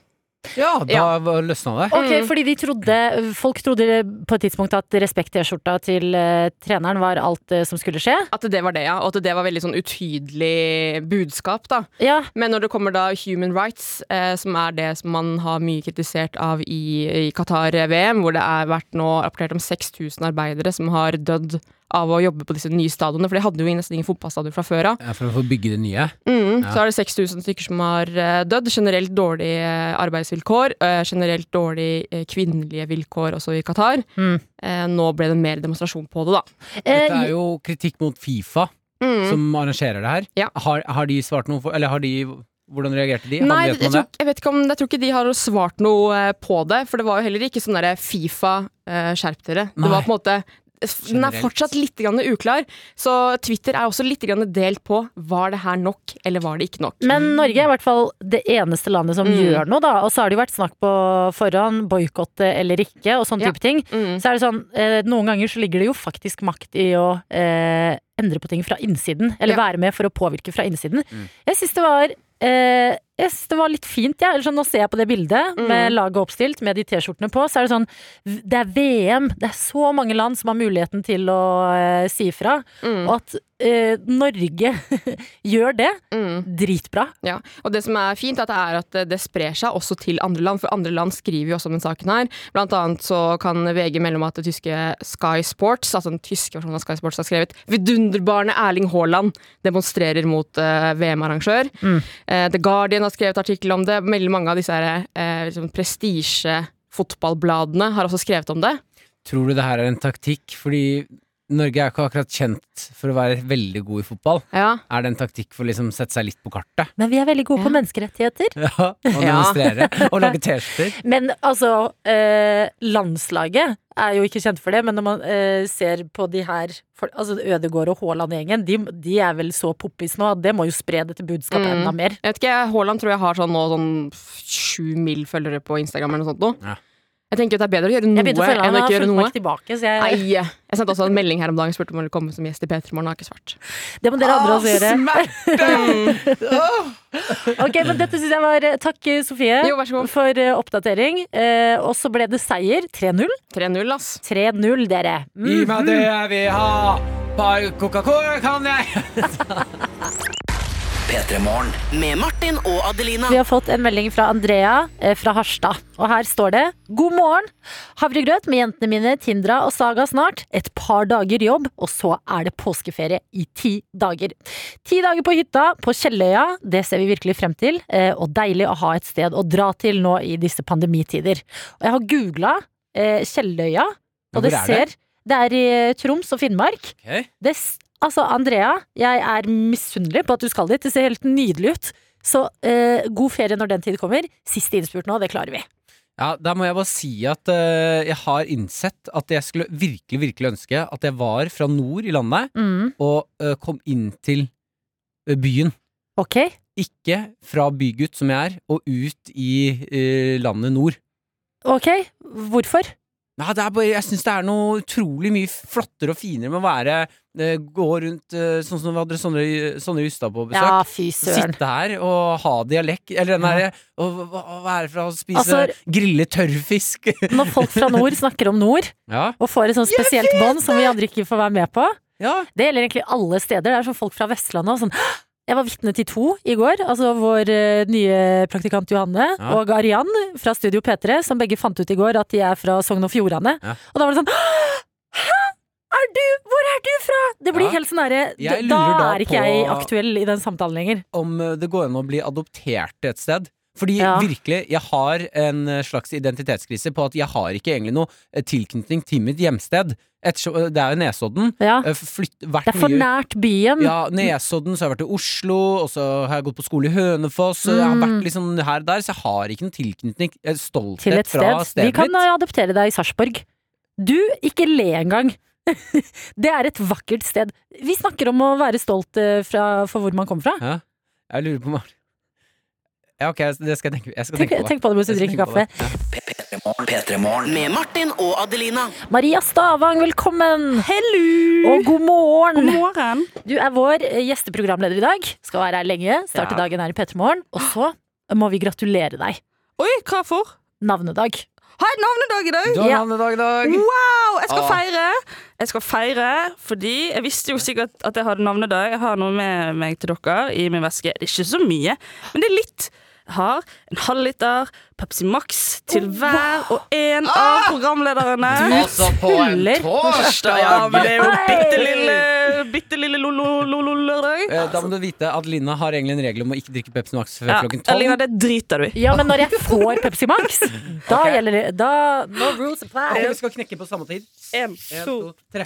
Speaker 3: Ja, da var- løsna det.
Speaker 2: Ok, fordi de trodde, Folk trodde på et tidspunkt at respekt-T-skjorta til eh, treneren var alt eh, som skulle skje.
Speaker 7: At det var det, ja. Og at det var veldig sånn utydelig budskap, da.
Speaker 2: Ja,
Speaker 7: Men når det kommer da human rights, eh, som er det som man har mye kritisert av i, i Qatar-VM, hvor det har vært nå rapportert om 6000 arbeidere som har dødd av å jobbe på disse nye stadionene, for de hadde jo nesten ingen fotballstadion fra før av.
Speaker 3: Ja, For å få bygge det nye.
Speaker 7: Mm,
Speaker 3: Ja.
Speaker 7: Så er det 6000 stykker som har eh, dødd. Generelt dårlige eh, arbeidsvilkår. eh, generelt dårlige eh, kvinnelige vilkår også i Qatar.
Speaker 2: Mm.
Speaker 7: Eh, nå ble det mer demonstrasjon på det, da.
Speaker 2: eh,
Speaker 3: Dette er jo kritikk mot Fifa,
Speaker 7: Mm.
Speaker 3: som arrangerer det her.
Speaker 7: Ja.
Speaker 3: Har, har de svart noe for Eller har de Hvordan reagerte de?
Speaker 7: Nei,
Speaker 3: Nei,
Speaker 7: jeg
Speaker 3: vet man
Speaker 7: tror,
Speaker 3: det?
Speaker 7: ikke- jeg, vet ikke om, jeg tror ikke de har svart noe eh, på det. For det var jo heller ikke sånn derre Fifa, eh, skjerp dere.
Speaker 3: Nei.
Speaker 7: Det var på en måte den er
Speaker 3: Generelt.
Speaker 7: fortsatt litt grann uklar, så Twitter er også litt grann delt på var det her nok, eller var det ikke nok.
Speaker 2: men Norge er i hvert fall det eneste landet som
Speaker 7: Mm.
Speaker 2: gjør noe, da. Og så har det jo vært snakk på forhånd, boikotte eller ikke, og sånn
Speaker 7: Ja.
Speaker 2: type ting.
Speaker 7: Mm.
Speaker 2: Så er det sånn, eh, Noen ganger så ligger det jo faktisk makt i å eh, endre på ting fra innsiden. Eller
Speaker 7: Ja. Mm.
Speaker 2: være med for å påvirke fra innsiden. Jeg syns det var eh, jeg synes det var litt fint. Ja. Eller sånn, nå ser jeg på det bildet
Speaker 7: Mm.
Speaker 2: med laget oppstilt, med de T-skjortene på. Så er det sånn v- Det er VM. Det er så mange land som har muligheten til å eh, si ifra.
Speaker 7: Mm.
Speaker 2: Og at eh, Norge gjør det.
Speaker 7: Mm.
Speaker 2: Dritbra.
Speaker 7: Ja, og det som er fint, er at det er at det sprer seg også til andre land, for andre land skriver jo også om den saken her. Blant annet så kan VG melde om at det tyske Sky Sports, altså den tyske versjonen av Sky Sports, har skrevet vidunderbarnet Erling Haaland demonstrerer mot eh, VM-arrangør.
Speaker 2: Mm.
Speaker 7: Eh, The Guardian har skrevet artikkel om det. Veldig mange av disse her, eh, liksom prestisjefotballbladene har også skrevet om det.
Speaker 3: Tror du det her er en taktikk? Fordi Norge er ikke akkurat kjent for å være veldig god i fotball.
Speaker 7: Ja.
Speaker 3: Er det en taktikk for å liksom sette seg litt på kartet?
Speaker 2: Men vi er veldig gode
Speaker 7: Ja.
Speaker 2: på menneskerettigheter.
Speaker 3: Ja, og
Speaker 7: Ja.
Speaker 3: demonstrere. Og lage T-skjorter.
Speaker 2: Men altså, eh, landslaget er jo ikke kjent for det, men når man eh, ser på de her for, Altså Ødegård og Haaland-gjengen, de, de er vel så poppis nå at det må jo spre dette budskapet
Speaker 7: Mm.
Speaker 2: enda mer.
Speaker 7: Jeg vet ikke, Haaland tror jeg har sånn nå sånn sju mil følgere på Instagram eller noe sånt nå.
Speaker 3: Ja.
Speaker 7: Jeg tenker at det er bedre å gjøre noe
Speaker 2: Jeg begynte å føle
Speaker 7: enn
Speaker 2: han
Speaker 7: å
Speaker 2: har
Speaker 7: ikke gjøre
Speaker 2: fulgt
Speaker 7: noe.
Speaker 2: meg tilbake, så
Speaker 8: Eh,
Speaker 2: jeg
Speaker 7: Nei. Jeg sendte også en melding her om dagen og spurte om jeg ville komme som gjest i P3 Morgen. Har ikke svart.
Speaker 2: Det må dere andre også gjøre.
Speaker 3: Smerte!
Speaker 2: Ok, men dette synes jeg var eh, Takk, Sofie,
Speaker 7: Jo, vær så god.
Speaker 2: for eh, oppdatering. Eh, og så ble det seier. 3-0.
Speaker 7: 3-0, ass.
Speaker 2: 3-0, dere.
Speaker 3: Gi
Speaker 2: Mm.
Speaker 3: meg det
Speaker 7: Mhm.
Speaker 3: jeg vil ha! Bare Coca-Cola kan jeg!
Speaker 4: P3 Morgen.
Speaker 5: Med Martin og Adelina.
Speaker 2: Vi har fått en melding fra Andrea eh, fra Harstad. Og her står det God morgen. Havregrøt med jentene mine, Tindra og Saga snart. Et par dager jobb, og så er det påskeferie i ti dager. Ti dager på hytta på Kjelløya, det ser vi virkelig frem til. eh, Og deilig å ha et sted å dra til nå i disse pandemitider. Og jeg har googla eh, Kjelløya, og
Speaker 3: Hvor
Speaker 2: det
Speaker 3: er
Speaker 2: ser
Speaker 3: det?
Speaker 2: det? Det er i eh, Troms og Finnmark.
Speaker 3: Ok.
Speaker 2: Det, s- altså, Andrea, jeg er misunnelig på at du skal dit. Det ser helt nydelig ut. Så eh, god ferie når den tid kommer. Siste innspurt nå, det klarer vi.
Speaker 3: Ja, da må jeg bare si at eh, jeg har innsett at jeg skulle virkelig, virkelig ønske at jeg var fra nord i landet og eh, kom inn til eh, byen.
Speaker 2: Ok?
Speaker 3: Ikke fra bygutt som jeg er, og ut i eh, landet nord.
Speaker 2: Ok, hvorfor?
Speaker 3: Nei, det er bare, jeg syns det er noe utrolig mye flottere og finere med å være eh, Gå rundt eh, sånn som vi hadde Sondre Sondre Justad på besøk.
Speaker 2: Ja, fy søren.
Speaker 3: Sitte her og ha dialekt Eller den derre å, å, å være fra å spise
Speaker 2: Altså-
Speaker 3: grille tørrfisk.
Speaker 2: Når folk fra nord snakker om nord,
Speaker 3: ja.
Speaker 2: og får et sånt spesielt bånd som vi andre ikke får være med på
Speaker 3: ja.
Speaker 2: Det gjelder egentlig alle steder. Det er sånn folk fra Vestlandet og sånn «Hå!» Jeg var vitne til to i går. Altså vår eh, nye praktikant Johanne
Speaker 3: Ja.
Speaker 2: og Arian fra Studio P3, som begge fant ut i går at de er fra Sogn og Fjordane.
Speaker 3: Ja.
Speaker 2: Og da var det sånn Hæ! Er du, hvor er du fra?! Det blir
Speaker 3: Ja.
Speaker 2: helt sånn derre Da,
Speaker 3: Jeg
Speaker 2: da
Speaker 3: lurer da
Speaker 2: er
Speaker 3: på-
Speaker 2: ikke jeg aktuell i den samtalen lenger.
Speaker 3: om eh, det går an å bli adoptert et sted. Fordi
Speaker 2: Ja.
Speaker 3: virkelig, jeg har en eh, slags identitetskrise på at jeg har ikke egentlig noe eh, tilknytning til mitt hjemsted. Ettersom, eh, det er jo Nesodden.
Speaker 2: Ja.
Speaker 3: Eh, Flytt, vært
Speaker 2: Ah. Det er for
Speaker 3: mye
Speaker 2: nært byen.
Speaker 3: ja, Nesodden, så har jeg vært i Oslo, og så har jeg gått på skole i Hønefoss. så Jeg har
Speaker 2: Mm.
Speaker 3: vært liksom her og der, så jeg har ikke noen tilknytning, eh, stolthet
Speaker 2: til et sted.
Speaker 3: fra stedet
Speaker 2: Vi kan
Speaker 3: mitt.
Speaker 2: eh, adoptere deg i Sarpsborg. Du, ikke le engang. det er et vakkert sted. Vi snakker om å være stolt eh, fra, for hvor man kommer fra.
Speaker 3: Ja. Jeg lurer på om Ja, ok, det skal jeg tenke, jeg skal
Speaker 2: Tenk,
Speaker 3: tenke på. det.
Speaker 2: tenk på det mens du
Speaker 3: Jeg
Speaker 2: drikker
Speaker 3: skal tenke på
Speaker 2: kaffe.
Speaker 3: det.
Speaker 4: P3morgen. P3morgen.
Speaker 5: Med Martin og Adelina.
Speaker 2: Maria Stavang, velkommen!
Speaker 8: Hello!
Speaker 2: Og god morgen!
Speaker 8: God morgen.
Speaker 2: Du er vår eh, gjesteprogramleder i dag. Skal være her lenge. Starte
Speaker 3: Ja.
Speaker 2: dagen her i P3 Morgen. Og så må vi gratulere deg.
Speaker 8: Oi, hva for?
Speaker 2: Navnedag.
Speaker 8: Har jeg navnedag i dag?
Speaker 3: Du har
Speaker 2: Ja. Mm.
Speaker 3: navnedag i dag.
Speaker 8: Wow, jeg skal
Speaker 3: Ah.
Speaker 8: feire! Jeg skal feire fordi jeg visste jo sikkert at jeg hadde navnedag. Jeg har noe med meg til dere i min veske. Det er ikke så mye, men det er litt. Jeg har en halvliter Pepsi Max til hver og en av programlederne.
Speaker 4: Altså på en
Speaker 2: Tuller.
Speaker 4: torsdag!
Speaker 8: Ja, men det er jo bitte lille, bitte lille lolo-lørdag.
Speaker 3: Eh, Da må du vite at Lina har egentlig en regel om å ikke drikke Pepsi Max før
Speaker 8: Ja,
Speaker 3: klokken
Speaker 8: Alina,
Speaker 3: tolv.
Speaker 8: det driter du i.
Speaker 2: Ja, men når jeg får Pepsi Max, da gjelder det da, No rules
Speaker 3: Ok,
Speaker 2: apply.
Speaker 3: vi skal knekke på samme tid.
Speaker 8: En,
Speaker 3: En,
Speaker 8: to,
Speaker 3: to, tre.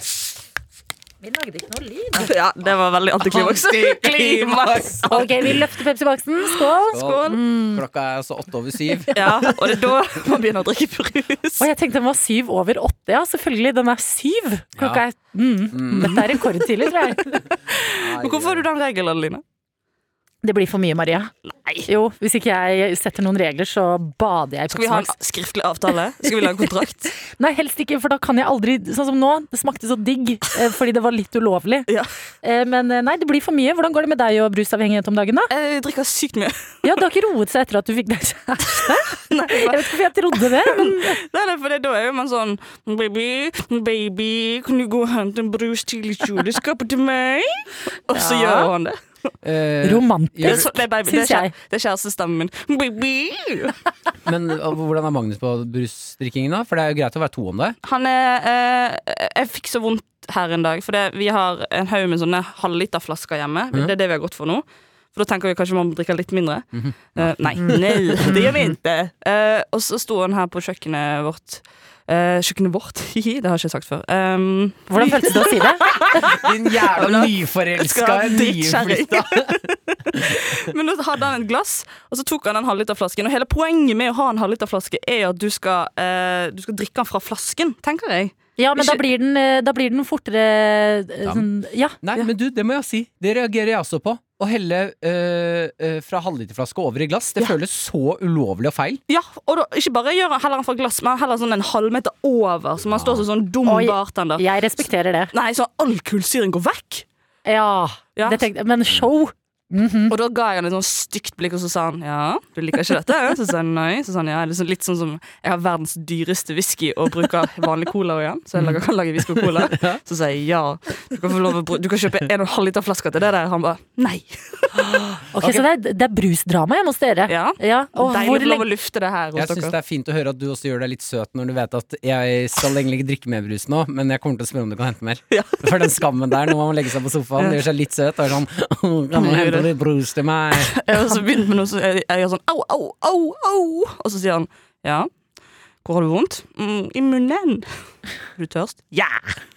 Speaker 2: Vi lagde ikke noe lyd.
Speaker 8: Ja, det var veldig antiklimaks. Antiklimaks!
Speaker 2: Ok, vi løfter Pepsi Maxen. Skål.
Speaker 3: Skål.
Speaker 8: Skål.
Speaker 3: Klokka er altså åtte over syv.
Speaker 8: Ja, og det er da man begynner å drikke brus.
Speaker 2: Og jeg tenkte den var syv over åtte. Ja, selvfølgelig. Den er syv. Klokka er mm. Dette er rekordtidlig, tror jeg.
Speaker 8: Men Hvorfor har du den regelen, Adeline?
Speaker 2: Det blir for mye, Maria. Nei. Jo, hvis ikke jeg setter noen regler, så bader jeg i
Speaker 8: Skal vi ha en
Speaker 2: Pepsi Max.
Speaker 8: skriftlig avtale? Skal vi lage kontrakt?
Speaker 2: Nei, helst ikke, for da kan jeg aldri Sånn som nå. Det smakte så digg eh, fordi det var litt ulovlig.
Speaker 8: Ja.
Speaker 2: Eh, Men eh, nei, det blir for mye. Hvordan går det med deg og brusavhengighet om dagen, da?
Speaker 8: Jeg drikker sykt mye.
Speaker 2: Ja, det har ikke roet seg etter at du fikk deg kjæreste? Jeg vet ikke hvorfor jeg trodde det, men
Speaker 8: Nei, nei, for det, da er jo man sånn Baby, baby, kan du gå og hente en brus til i kjøleskapet til meg? Og så
Speaker 2: Ja.
Speaker 8: gjør han det.
Speaker 3: Eh,
Speaker 2: romantisk.
Speaker 8: Det er, så, nei, baby, det er,
Speaker 2: Syns jeg.
Speaker 8: kjære- det er kjærestestemmen min. Baby!
Speaker 3: men eh, hvordan er Magnus på brusdrikkingen, da? For det er jo greit å være to om det.
Speaker 8: Han er eh, Jeg fikk så vondt her en dag, for det, vi har en haug med sånne halvliterflasker hjemme. Det er det vi har gått for nå. For da tenker vi kanskje man må drikke litt mindre. Eh, nei, nei, det gjør vi ikke. Eh, og så sto han her på kjøkkenet vårt. Eh, kjøkkenet vårt? det har jeg ikke sagt før. Um,
Speaker 2: Hvordan føltes det å si det?
Speaker 3: Din jævla nyforelska
Speaker 8: Skal drittkjerring.
Speaker 3: nyforelska.
Speaker 8: men da hadde han et glass, og så tok han den halvliterflasken. Og hele poenget med å ha en halvliterflaske er at du skal, eh, du skal drikke den fra flasken, tenker jeg.
Speaker 2: Ja, men da
Speaker 8: Ikke-
Speaker 2: blir den, eh, da blir den fortere eh, sånn, Ja.
Speaker 3: Nei, men du, det må jeg si. Det reagerer jeg også på. Å helle eh, eh, fra halvliterflaske over i glass, det føles så ulovlig og feil.
Speaker 8: Ja, og da, ikke bare gjør han heller han fra glass, men heller sånn en halvmeter over, så man står som sånn dum
Speaker 2: Oi.
Speaker 8: bartender.
Speaker 2: Jeg respekterer det.
Speaker 8: Nei, så all kullsyren går vekk!
Speaker 2: Ja,
Speaker 8: Ja.
Speaker 2: det tenkte, Men show!
Speaker 8: Og da ga jeg han et sånn stygt blikk, og så sa han ja, du liker ikke dette? Så sa han nei. Så sa han ja, det er sånn- litt sånn som jeg har verdens dyreste whisky og bruker vanlig cola igjen, så jeg lager, kan lage whisky og cola. Så sa jeg ja, du kan, få lov å, bru- du kan kjøpe en og en halv liter flaske til det der. Han bare nei.
Speaker 2: Ok, Så det er, det er brusdrama hjemme hos dere?
Speaker 8: Ja.
Speaker 2: og hvor
Speaker 8: Deilig å få lov
Speaker 2: lenge
Speaker 8: å lufte det her hos
Speaker 3: Jeg syns det
Speaker 8: dere.
Speaker 3: er fint å høre at du også gjør deg litt søt når du vet at jeg skal egentlig ikke drikke mer brus nå, men jeg kommer til å spørre om du kan hente mer.
Speaker 8: Ja.
Speaker 3: For den skammen der når man legger seg på sofaen, gjør seg litt søt og er sånn «Åh, Kan du hente litt brus til meg?
Speaker 8: Eh, Jeg har også begynt med noe som jeg, jeg gjør sånn au, au, au, au. Og så sier han ja. Hvor har du vondt? Mm, I munnen. Er du tørst? Ja!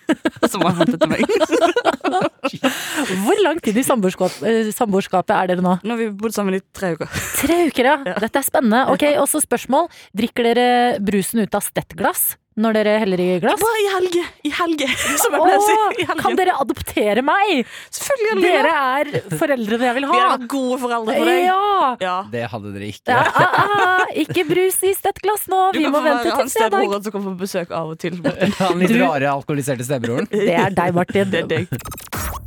Speaker 8: Og så må han hente til meg.
Speaker 2: Hvor lang tid i samboerskap, eh, samboerskapet er dere nå?
Speaker 8: Nå har vi bodd sammen i tre uker.
Speaker 2: Tre uker, ja. Dette er spennende. Ok, Og så spørsmål. Drikker dere brusen ut av stettglass når dere heller i glass?
Speaker 8: Bare i helge! I helge, som jeg pleier å si. I
Speaker 2: Åh,
Speaker 8: helgen.
Speaker 2: kan dere adoptere meg?
Speaker 8: Selvfølgelig!
Speaker 2: Dere er foreldrene jeg vil
Speaker 8: Vi
Speaker 2: ha.
Speaker 8: er gode foreldre for deg.
Speaker 2: Ja.
Speaker 8: Ja.
Speaker 3: Det hadde dere ikke.
Speaker 2: Ja, ah, ah, ikke brus i stettglass nå,
Speaker 8: Du
Speaker 2: vi
Speaker 8: kan
Speaker 2: må
Speaker 8: få
Speaker 2: vente
Speaker 8: være
Speaker 2: til
Speaker 8: han
Speaker 2: fredag.
Speaker 8: stebroren som kommer på besøk av og til.
Speaker 3: Han litt
Speaker 2: Du-
Speaker 3: rare, alkoholiserte stebroren.
Speaker 2: Det er deg, Martin.
Speaker 8: Det er deg.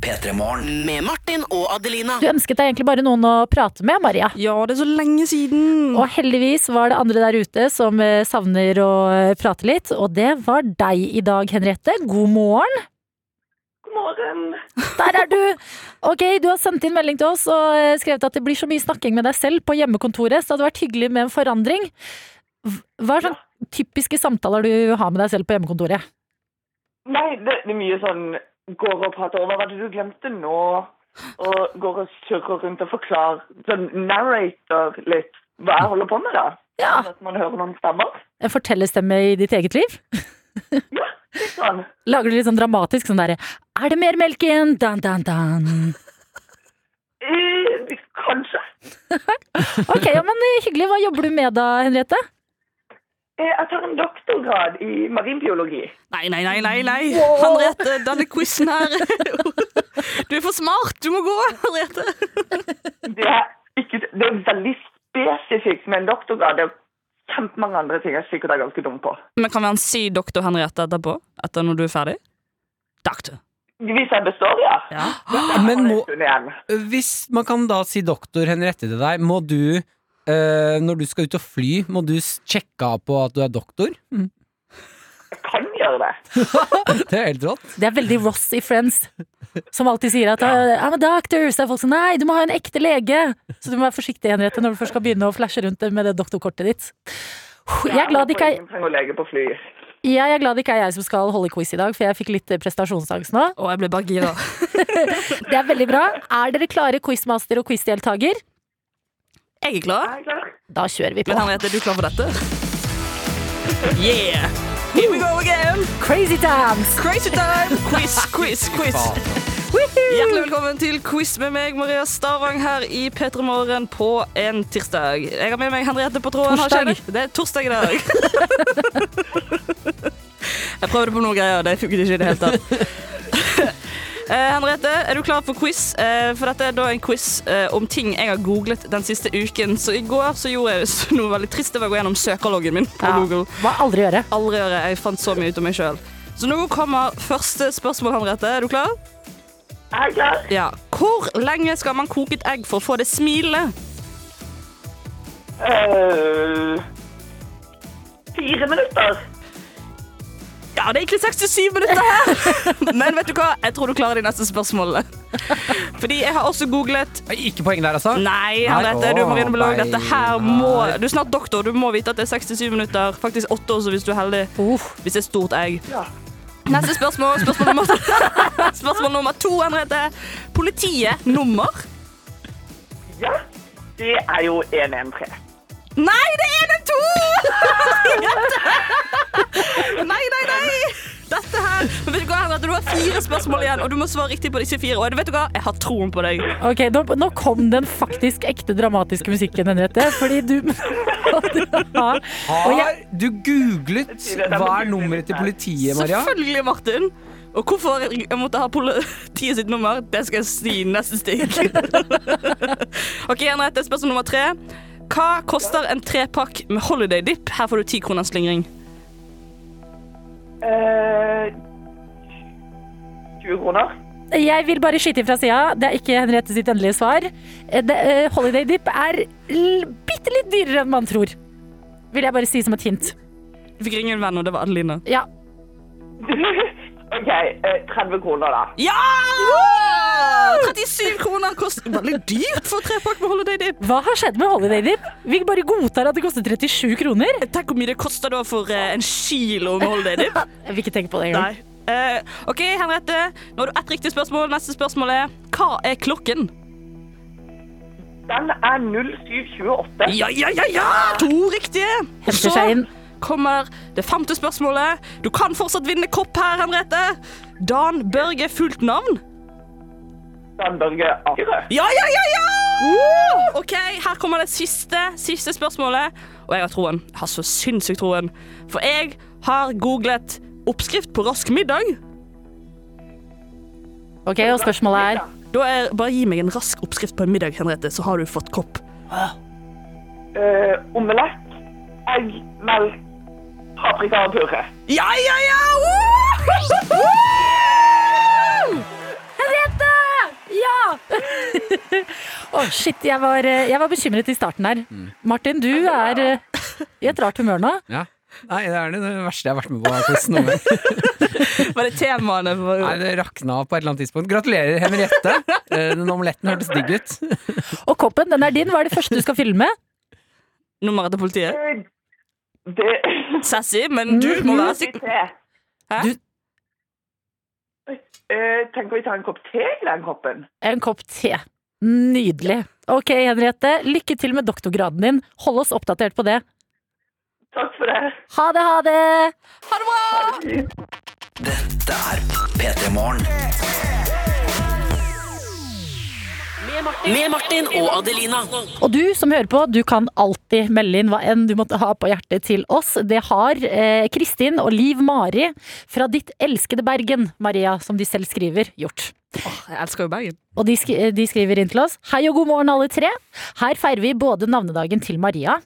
Speaker 4: P3morgen.
Speaker 5: Med Martin og Adelina.
Speaker 2: Du ønsket deg egentlig bare noen å prate med, Maria.
Speaker 8: Ja, det er så lenge siden!
Speaker 2: Og heldigvis var det andre der ute som eh, savner å eh, prate litt, og det var deg i dag, Henriette. God morgen. God morgen. Der er du! Ok, du har sendt inn melding til oss og eh, skrevet at det blir så mye snakking med deg selv på hjemmekontoret, så det hadde vært hyggelig med en forandring. Hv- Hva er sånn typiske samtaler du har med deg selv på hjemmekontoret?
Speaker 9: Nei, det, det er mye sånn går og prater over hva var det du glemte nå, og går og surrer rundt og forklarer, sånn narrator litt, hva jeg holder på med da.
Speaker 2: Ja,
Speaker 9: Sånn At man hører noen stemmer.
Speaker 2: en fortellerstemme i ditt eget liv?
Speaker 9: Litt sånn.
Speaker 2: Lager du litt sånn dramatisk sånn derre Er det mer melk igjen? Dan, dan, dan.
Speaker 9: Eh, kanskje.
Speaker 2: Ok, ja, men eh, hyggelig. Hva jobber du med da, Henriette?
Speaker 9: Eh, jeg tar en doktorgrad i marinbiologi.
Speaker 8: Nei, nei, nei, nei, nei. Henriette, denne quizen her Du er for smart! Du må gå, Henriette.
Speaker 9: Det er, ikke, det er veldig spesifikt med en doktorgrad. Det er kjempemange andre ting jeg sikkert er ganske dum på.
Speaker 8: Men kan vi ha en si doktor Henriette etterpå? Etter når du er ferdig? Doktor.
Speaker 9: Hvis jeg består, ja.
Speaker 8: Ja.
Speaker 3: Men må,
Speaker 9: Stund igjen.
Speaker 3: hvis man kan da si doktor Henriette til deg, må du eh, når du skal ut og fly, må du s- sjekke av på at du er doktor?
Speaker 9: Jeg kan gjøre det.
Speaker 3: Det er helt rått.
Speaker 2: Det er veldig Ross i Friends, som alltid sier at eh, I'm a doctor. Så er folk sånn Nei, du må ha en ekte lege. Så du må være forsiktig, Henriette, når du først skal begynne å flashe rundt med det doktorkortet ditt. Jeg er glad det ikke er
Speaker 9: Ingen trenger å lege på fly.
Speaker 2: jeg, er glad det ikke er jeg som skal holde quiz i dag, for jeg fikk litt eh, prestasjonsangst nå.
Speaker 8: Og jeg ble bare gira.
Speaker 2: Det er veldig bra. Er dere klare, quizmaster og quizdeltaker?
Speaker 8: Jeg er klar.
Speaker 9: Jeg er klar.
Speaker 2: Da kjører vi
Speaker 8: Men
Speaker 2: på.
Speaker 8: Henriette, er du klar for dette? Yeah! Here we go again!
Speaker 2: Crazy times!
Speaker 8: Crazy time! Quiz, quiz, quiz. Hjertelig velkommen til quiz med meg, Maria Stavang, her i P3 Morgen på en tirsdag. Jeg har med meg Henriette på tråden. har ikke jeg det? Det er torsdag i dag. Jeg prøvde på noen greier, det funket ikke i det hele tatt. Eh, Henriette, er du klar for quiz? Eh, for dette er da en quiz eh, om ting jeg har googlet den siste uken. Så i går så gjorde jeg s- noe veldig trist. Det var å gå gjennom søkerloggen min på
Speaker 2: Ja,
Speaker 8: Google
Speaker 2: må aldri gjøre.
Speaker 8: aldri gjøre. Jeg fant så mye ut om meg sjøl. Så nå kommer første spørsmål, Henriette. Er du klar?
Speaker 9: Jeg er klar.
Speaker 8: Ja. Hvor lenge skal man koke et egg for å få det smilet?
Speaker 9: Eh, fire minutter.
Speaker 8: Ja, det er egentlig 67 minutter her! Men vet du hva? Jeg tror du klarer de neste spørsmålene. Fordi jeg har også googlet
Speaker 3: Nei, Ikke poeng der, altså.
Speaker 8: Nei, Henriette, du
Speaker 3: Åh,
Speaker 8: må rinne Dette her
Speaker 3: nei.
Speaker 8: må Du er snart doktor. Du må vite at det er 67 minutter. Faktisk åtte også, hvis du er heldig.
Speaker 2: Uff.
Speaker 8: Hvis det er et stort egg.
Speaker 9: Ja.
Speaker 8: Neste spørsmål. Spørsmål nummer, spørsmål nummer to, Henriette. Politiet nummer?
Speaker 9: Ja, det er jo 113.
Speaker 8: Nei, det er den to! nei, nei, nei! Dette her Men vet Du hva, Henriette, du har fire spørsmål igjen, og du må svare riktig på disse fire. Og vet du hva, jeg har troen på deg.
Speaker 2: Ok, nå, nå kom den faktisk ekte dramatiske musikken, Henriette. Fordi du Ja.
Speaker 3: Har
Speaker 2: Og jeg-
Speaker 3: du googlet hva er nummeret til politiet, Maria?
Speaker 8: Selvfølgelig, Martin. Og hvorfor jeg måtte ha politiet sitt nummer, det skal jeg si i neste stikk. OK, Henriette, spørsmål nummer tre. Hva koster en trepakk med holiday dip? Her får du ti kroners slingring.
Speaker 9: Eh, 20 kroner.
Speaker 2: Jeg vil bare skyte inn fra sida. Det er ikke Henriette sitt endelige svar. Eh, Det, eh, Holiday Dip er bitte litt dyrere enn man tror. Vil jeg bare si som et hint.
Speaker 8: Du fikk ringe en venn, og det var Adelina.
Speaker 2: Ja.
Speaker 9: OK, eh, 30 kroner, da.
Speaker 8: Ja! 37 kroner koster veldig dyrt for tre pakk med Holiday Dip.
Speaker 2: Hva har skjedd med Holiday Dip? Vi bare godtar at det koster 37 kroner.
Speaker 8: Eh, Tenk hvor mye det koster da for eh, en kilo med Holiday Dip.
Speaker 2: Jeg vil ikke tenke på det engang.
Speaker 8: Nei. Eh, OK, Henriette. Nå har du ett riktig spørsmål. Neste spørsmål er hva er klokken?
Speaker 9: Den er 0728.
Speaker 8: Ja, ja, ja! ja! To riktige.
Speaker 2: Henter seg inn.
Speaker 8: kommer det femte spørsmålet. Du kan fortsatt vinne kopp her, Henriette. Dan Børge fullt navn?
Speaker 9: Dan Børge Akerø.
Speaker 8: Ja, ja, ja, ja! OK, her kommer det siste, siste spørsmålet. Og jeg har troen. Jeg har så sinnssykt troen. For jeg har googlet oppskrift på rask middag.
Speaker 2: Ok, og spørsmålet er
Speaker 8: Da er, bare gi meg en rask oppskrift på en middag, Henriette, så har du fått kopp.
Speaker 9: Eh, omelett, egg, melk, paprika og purre.
Speaker 8: Ja, ja, ja! Woo!
Speaker 2: Henriette! Ja! Å, shit. Jeg var, eh, jeg var bekymret i starten her. Martin, du er eh, i et rart humør nå.
Speaker 3: Ja. Nei, det er det verste jeg har vært med på. her quizen noen gang.
Speaker 8: Var det temaene? For...
Speaker 3: Nei, det rakna på et eller annet tidspunkt. Gratulerer, Henriette. Eh, Den omeletten hørtes digg ut.
Speaker 2: Og koppen, den er din. Hva er det første du skal fylle med?
Speaker 8: Nummeret til politiet?
Speaker 9: Eh, Det
Speaker 8: Sassy, men du må være
Speaker 9: Litt
Speaker 8: sikker.
Speaker 9: te.
Speaker 8: Hæ?
Speaker 2: Du-
Speaker 9: Eh, tenker vi tar en kopp te i den koppen?
Speaker 2: En kopp te. Nydelig. Ok, Henriette. Lykke til med doktorgraden din. Hold oss oppdatert på det.
Speaker 9: Takk for det.
Speaker 2: Ha det, ha det!
Speaker 4: Dette er P3 Morgen.
Speaker 5: Med Martin og Adelina.
Speaker 2: Og du som hører på, du kan alltid melde inn hva enn du måtte ha på hjertet til oss. Det har eh, Kristin og Liv Mari fra Ditt elskede Bergen, Maria, som de selv skriver, gjort.
Speaker 7: Jeg elsker jo Bergen.
Speaker 2: Og de, skri de skriver inn til oss Hei og god morgen alle tre Her feirer vi både navnedagen til Maria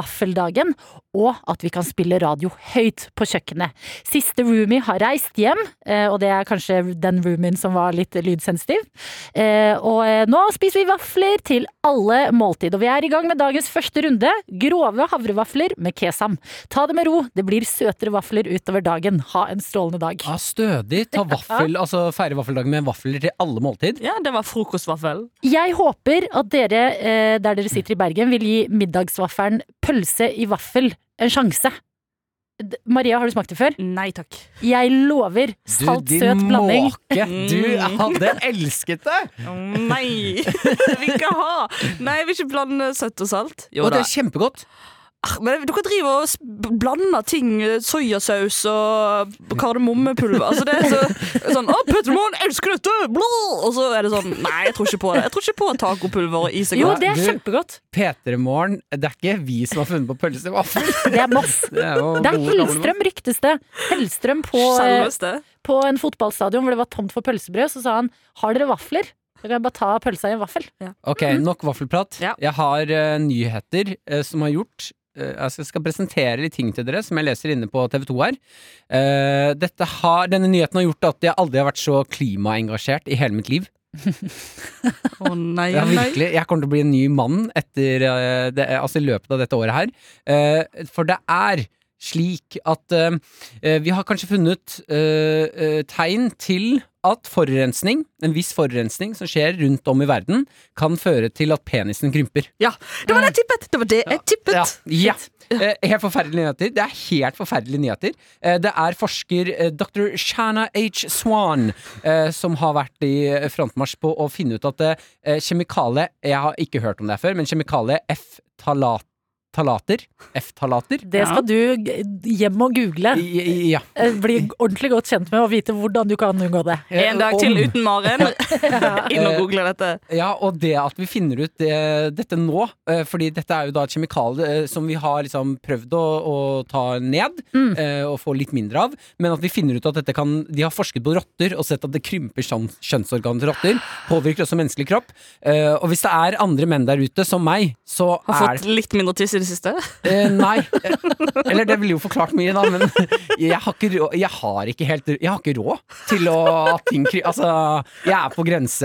Speaker 2: Vaffeldagen Og at vi kan spille radio høyt på kjøkkenet Siste roomie har reist hjem eh, Og det er kanskje den roomien som var litt lydsensitiv Eh, Og eh, nå spiser vi vaffler til alle måltid Og vi er i gang med dagens første runde Grove havrevaffler med kesam Ta det med ro, det blir søtere vaffler utover dagen Ha en strålende dag
Speaker 3: Ja, stødig. Ta vaffel, altså feire vaffeldagen med vafler til alle måltid.
Speaker 8: Ja, det var frokostvaffel.
Speaker 2: Jeg håper at dere eh, der dere sitter i Bergen, vil gi middagsvaffelen pølse i vaffel en sjanse. D Maria, har du smakt det før?
Speaker 8: Nei takk.
Speaker 2: Jeg lover salt-søt
Speaker 3: din
Speaker 2: blanding.
Speaker 3: måke! Du hadde elsket det!
Speaker 8: Nei! Det vil ikke ha! Nei, jeg vil ikke blande søtt og salt. Jo
Speaker 3: Og det
Speaker 8: da.
Speaker 3: er kjempegodt.
Speaker 8: Ah, Men dere driver og s- blander ting. eh, Soyasaus og kardemommepulver. Altså, det er så, sånn 'Å, Petter Moen, elsker dette!' Blå! Og så er det sånn Nei, jeg tror ikke på det. Jeg tror ikke på tacopulver og is.
Speaker 2: Jo, det er
Speaker 3: Du-
Speaker 2: kjempegodt.
Speaker 3: P3morgen, det er ikke vi som har funnet på pølse i vaffel.
Speaker 2: Det er Moss.
Speaker 3: Det er jo
Speaker 2: Det er
Speaker 3: gode gamle
Speaker 2: Hellstrøm, ryktes det. Hellstrøm på, eh,
Speaker 8: Selveste.
Speaker 2: på en fotballstadion hvor det var tomt for pølsebrød, så sa han 'Har dere vafler?' Da kan jeg bare ta pølsa i en vaffel.
Speaker 3: Ok, nok vaffelprat.
Speaker 8: Mhm. Ja.
Speaker 3: Jeg har eh, nyheter eh, som har gjort eh, altså Jeg skal presentere litt ting til dere som jeg leser inne på TV 2 her. Eh, dette har, denne nyheten har gjort at jeg aldri har vært så klimaengasjert i hele mitt liv.
Speaker 8: Å nei,
Speaker 3: Jeg, har
Speaker 8: nei.
Speaker 3: virkelig, jeg kommer til å bli en ny mann etter, eh, det, altså i løpet av dette året her. Eh, for det er slik at eh, eh, vi har kanskje funnet eh, eh, tegn til at forurensning, en viss forurensning som skjer rundt om i verden, kan føre til at penisen krymper.
Speaker 8: Ja, det var det jeg tippet! Det var det jeg tippet.
Speaker 3: Ja, ja. Eh, Helt forferdelige nyheter. Det er helt forferdelige nyheter. Eh, Det er forsker eh, dr. Shanna H. Swan eh, som har vært i eh, frontmarsj på å finne ut at eh, kjemikalie Jeg har ikke hørt om det her før, men kjemikalie F-talater F-talater?
Speaker 2: Det skal du g- hjem og google.
Speaker 3: I- i- Ja.
Speaker 2: Eh, Bli ordentlig godt kjent med og vite hvordan du kan unngå det.
Speaker 8: En dag til
Speaker 3: Om-
Speaker 8: uten Maren. Inn og google dette.
Speaker 3: Ja, og det at vi finner ut det, dette nå, eh, fordi dette er jo da et kjemikalie eh, som vi har liksom prøvd å, å ta ned
Speaker 2: Mm.
Speaker 3: eh, og få litt mindre av, men at vi finner ut at dette kan De har forsket på rotter og sett at det krymper kjønn- kjønnsorganet til rotter. Påvirker også menneskelig kropp. Eh, og hvis det er andre menn der ute, som meg, så
Speaker 8: Har
Speaker 3: er
Speaker 8: fått litt mindre tiss i det siste.
Speaker 3: Eh, nei. Eh, Eller det ville jo forklart mye, da, men jeg har ikke, rå, jeg har ikke helt Jeg har ikke råd til å at ting kry- Altså, jeg er på grense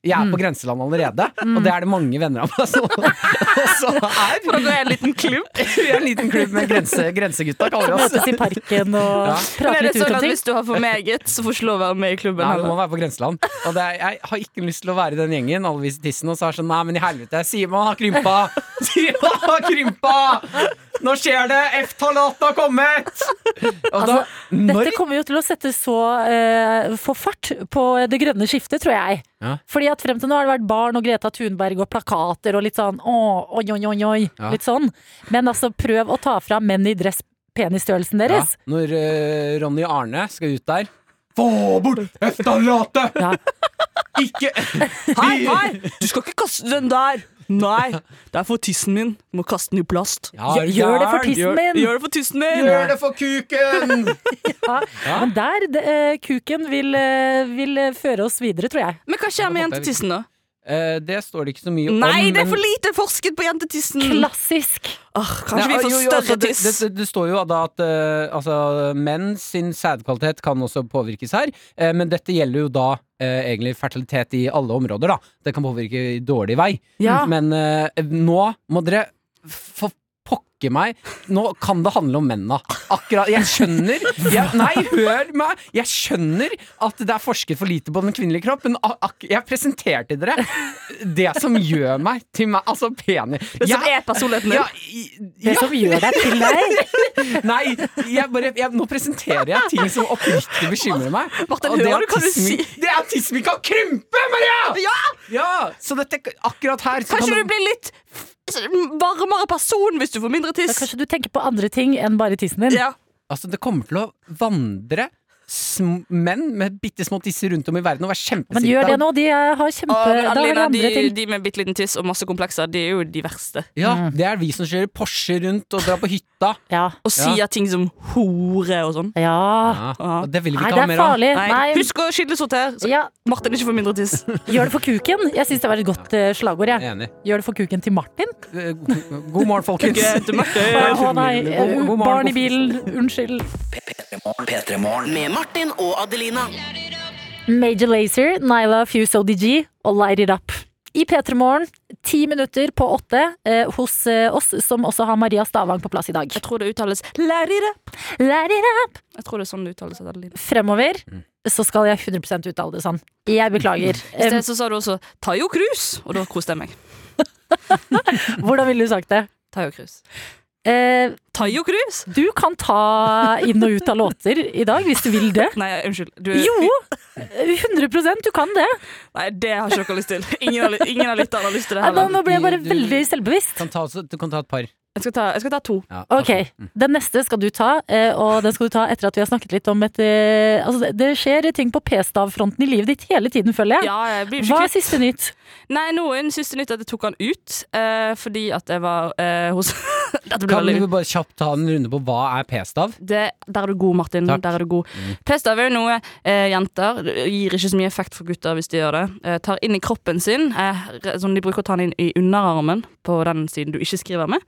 Speaker 3: Jeg er
Speaker 8: Mm.
Speaker 3: på grenseland allerede, og det er det mange venner av meg som også er.
Speaker 8: For dere er en liten klubb.
Speaker 3: Vi er en liten klubb med grense, grensegutta, kaller vi oss.
Speaker 2: Møtes i parken og
Speaker 3: Ja.
Speaker 8: Men
Speaker 2: prate
Speaker 8: er det
Speaker 2: litt ut
Speaker 8: sånn
Speaker 2: om
Speaker 8: at
Speaker 2: ting.
Speaker 8: hvis du har for meget, så får du ikke lov å være med i klubben
Speaker 3: Nei, vi må
Speaker 8: heller?
Speaker 3: være på grenseland. Og det er, jeg har ikke lyst til å være i den gjengen, alle viser tissen, og så er det sånn Nei, men i helvete, Simon har krympa! Simon har krympa! Nå skjer det! F-tallet har kommet! Og da,
Speaker 8: Altså,
Speaker 3: når
Speaker 2: Dette kommer jo til å sette så eh, få fart på det grønne skiftet, tror jeg.
Speaker 3: Ja.
Speaker 2: Fordi at frem til nå har det vært barn og Greta Thunberg og plakater og litt sånn å, oi, oi, oi, oi.
Speaker 3: Ja.
Speaker 2: Litt sånn. Men altså, prøv å ta fra menn i dress penisstørrelsen
Speaker 3: Ja,
Speaker 2: deres.
Speaker 3: når eh, Ronny Arne skal ut der Få bort hesteratet!
Speaker 2: Ja.
Speaker 3: Ikke
Speaker 8: Hei, hei! Du skal ikke kaste den der! Nei, det er for tissen min. Du må kaste den i plast.
Speaker 3: Ja, er du
Speaker 2: Gjør det for
Speaker 3: gæren?
Speaker 2: tissen min!
Speaker 8: Gjør det for tissen min!
Speaker 3: Gjør det for kuken!
Speaker 2: Ja. Men der, det, eh, kuken vil, eh, vil eh, føre oss videre, tror jeg.
Speaker 8: Men hva skjer med jentetissen, da?
Speaker 3: Eh, det står det ikke så mye om.
Speaker 8: Nei, det er
Speaker 3: men-
Speaker 8: for lite forsket på jentetissen!
Speaker 2: Klassisk.
Speaker 8: Åh, kanskje vi
Speaker 3: Nei,
Speaker 8: får
Speaker 3: jo, jo, altså,
Speaker 8: større
Speaker 3: det-
Speaker 8: tiss?
Speaker 3: Det, det, det står jo da at eh, altså, menn sin sædkvalitet kan også påvirkes her, eh, men dette gjelder jo da eh, egentlig fertilitet i alle områder, da. Det kan påvirke i dårlig vei.
Speaker 8: Ja.
Speaker 3: Men eh, nå må dere få pokke meg Nå kan det handle om menna. Akkurat. Jeg skjønner jeg, Nei, hør meg! Jeg skjønner at det er forsket for lite på den kvinnelige kropp, men ak ak- jeg presenterte dere det som gjør meg til meg. Altså peni.
Speaker 8: Det som
Speaker 3: Jeg-
Speaker 8: er personligheten din?
Speaker 3: ja, i-
Speaker 2: Det
Speaker 3: ja.
Speaker 2: som gjør deg til deg.
Speaker 3: Nei, jeg bare, jeg, nå presenterer jeg ting som oppriktig bekymrer meg.
Speaker 8: Martin,
Speaker 3: Og det
Speaker 8: hør
Speaker 3: er
Speaker 8: hva du
Speaker 3: tissen min- Det er at tissen min kan krympe, Maria!
Speaker 8: Ja!
Speaker 3: Ja, Så dette, akkurat her så
Speaker 8: Kanskje
Speaker 3: kan
Speaker 8: du blir litt varmere person hvis du får mindre
Speaker 2: Ja,
Speaker 8: tiss?
Speaker 2: Kanskje du tenker på andre ting enn bare tissen din.
Speaker 8: Ja.
Speaker 3: Altså, det kommer til å vandre sm menn med bitte små tisser rundt om i verden og være
Speaker 2: Men gjør det
Speaker 3: kjempesikta.
Speaker 2: nå, de eh, har kjempe...
Speaker 8: Åh,
Speaker 2: Da har
Speaker 8: men
Speaker 2: de
Speaker 8: Adelina,
Speaker 2: andre
Speaker 8: de,
Speaker 2: ting.
Speaker 8: de med bitte liten tiss og masse komplekser, de er jo de verste.
Speaker 3: Ja, det er vi som kjører Porsche rundt og drar på hytta.
Speaker 2: Ja.
Speaker 8: Og sier ting som hore og sånn.
Speaker 2: ja.
Speaker 3: Ja,
Speaker 8: Ja.
Speaker 3: og det vil vi
Speaker 2: Nei,
Speaker 3: ikke
Speaker 2: det
Speaker 3: ha
Speaker 2: er
Speaker 3: mer av.
Speaker 2: farlig.
Speaker 8: Nei.
Speaker 2: Nei.
Speaker 8: Husk å skyllesortere, så
Speaker 2: Ja,
Speaker 8: Martin ikke får mindre tiss.
Speaker 2: gjør det for kuken. Jeg syns det var et godt eh, slagord. Jeg.
Speaker 3: Enig.
Speaker 2: Gjør det for kuken til Martin.
Speaker 3: Eh, god- God morgen, folkens.
Speaker 8: Grete Marte.
Speaker 2: Å nei,
Speaker 3: God-
Speaker 2: eh,
Speaker 3: god morgen,
Speaker 2: barn i
Speaker 3: god-
Speaker 2: bilen. Unnskyld.
Speaker 4: P3morgen. P3morgen.
Speaker 5: Med Martin og Adelina.
Speaker 2: Major Lazer, Nyla Fuse ODG og Light It Up. I P3 Morgen, ti minutter på åtte, eh, hos eh, oss som også har Maria Stavang på plass i dag.
Speaker 8: Jeg tror det uttales lærere.
Speaker 2: Light it up!
Speaker 8: Jeg tror det er sånn det uttales. Adeline.
Speaker 2: Fremover
Speaker 3: Mm.
Speaker 2: så skal jeg 100 uttale det sånn. Jeg beklager.
Speaker 8: I
Speaker 2: Eh,
Speaker 8: sted så sa du også 'Tayo Cruz', og da koste jeg meg.
Speaker 2: Eh, hvordan ville du sagt det?
Speaker 8: Tayo Cruz.
Speaker 2: Eh,
Speaker 8: Tayo Cruz?
Speaker 2: du kan ta inn og ut av låter i dag, hvis du vil det.
Speaker 8: Nei, unnskyld. Du,
Speaker 2: Jo! 100 du kan det.
Speaker 8: Nei, det har ikke dere lyst til. Ingen av, li- ingen av lytterne har lyst til det
Speaker 2: Nei, Nå
Speaker 8: heller.
Speaker 2: nå ble jeg bare
Speaker 3: Du-
Speaker 2: veldig selvbevisst.
Speaker 3: Kan ta, også- du kan ta et par.
Speaker 8: Jeg skal ta, jeg skal ta to.
Speaker 3: Ja, ta
Speaker 2: Ok,
Speaker 3: to.
Speaker 8: Mm.
Speaker 2: Den neste skal du ta, eh, og den skal du ta etter at vi har snakket litt om et eh, altså det- Det skjer ting på p-stavfronten i livet ditt hele tiden, følger jeg.
Speaker 8: Ja, jeg blir jo ikke
Speaker 2: Hva er
Speaker 8: kvitt
Speaker 2: siste nytt?
Speaker 8: Nei, noen siste nytt at jeg tok han ut eh, fordi at jeg var eh, hos Dette blir
Speaker 3: Kan
Speaker 8: veldig
Speaker 3: du bare kjapt ta en runde på hva er p-stav?
Speaker 8: det, Der er du god, Martin.
Speaker 3: Takk.
Speaker 8: Der er du god. P-stav er jo noe eh, jenter gir ikke så mye effekt for gutter hvis de gjør det. Eh, tar inn i kroppen sin, eh, re- sånn de bruker å ta den inn i underarmen på den siden du ikke skriver med.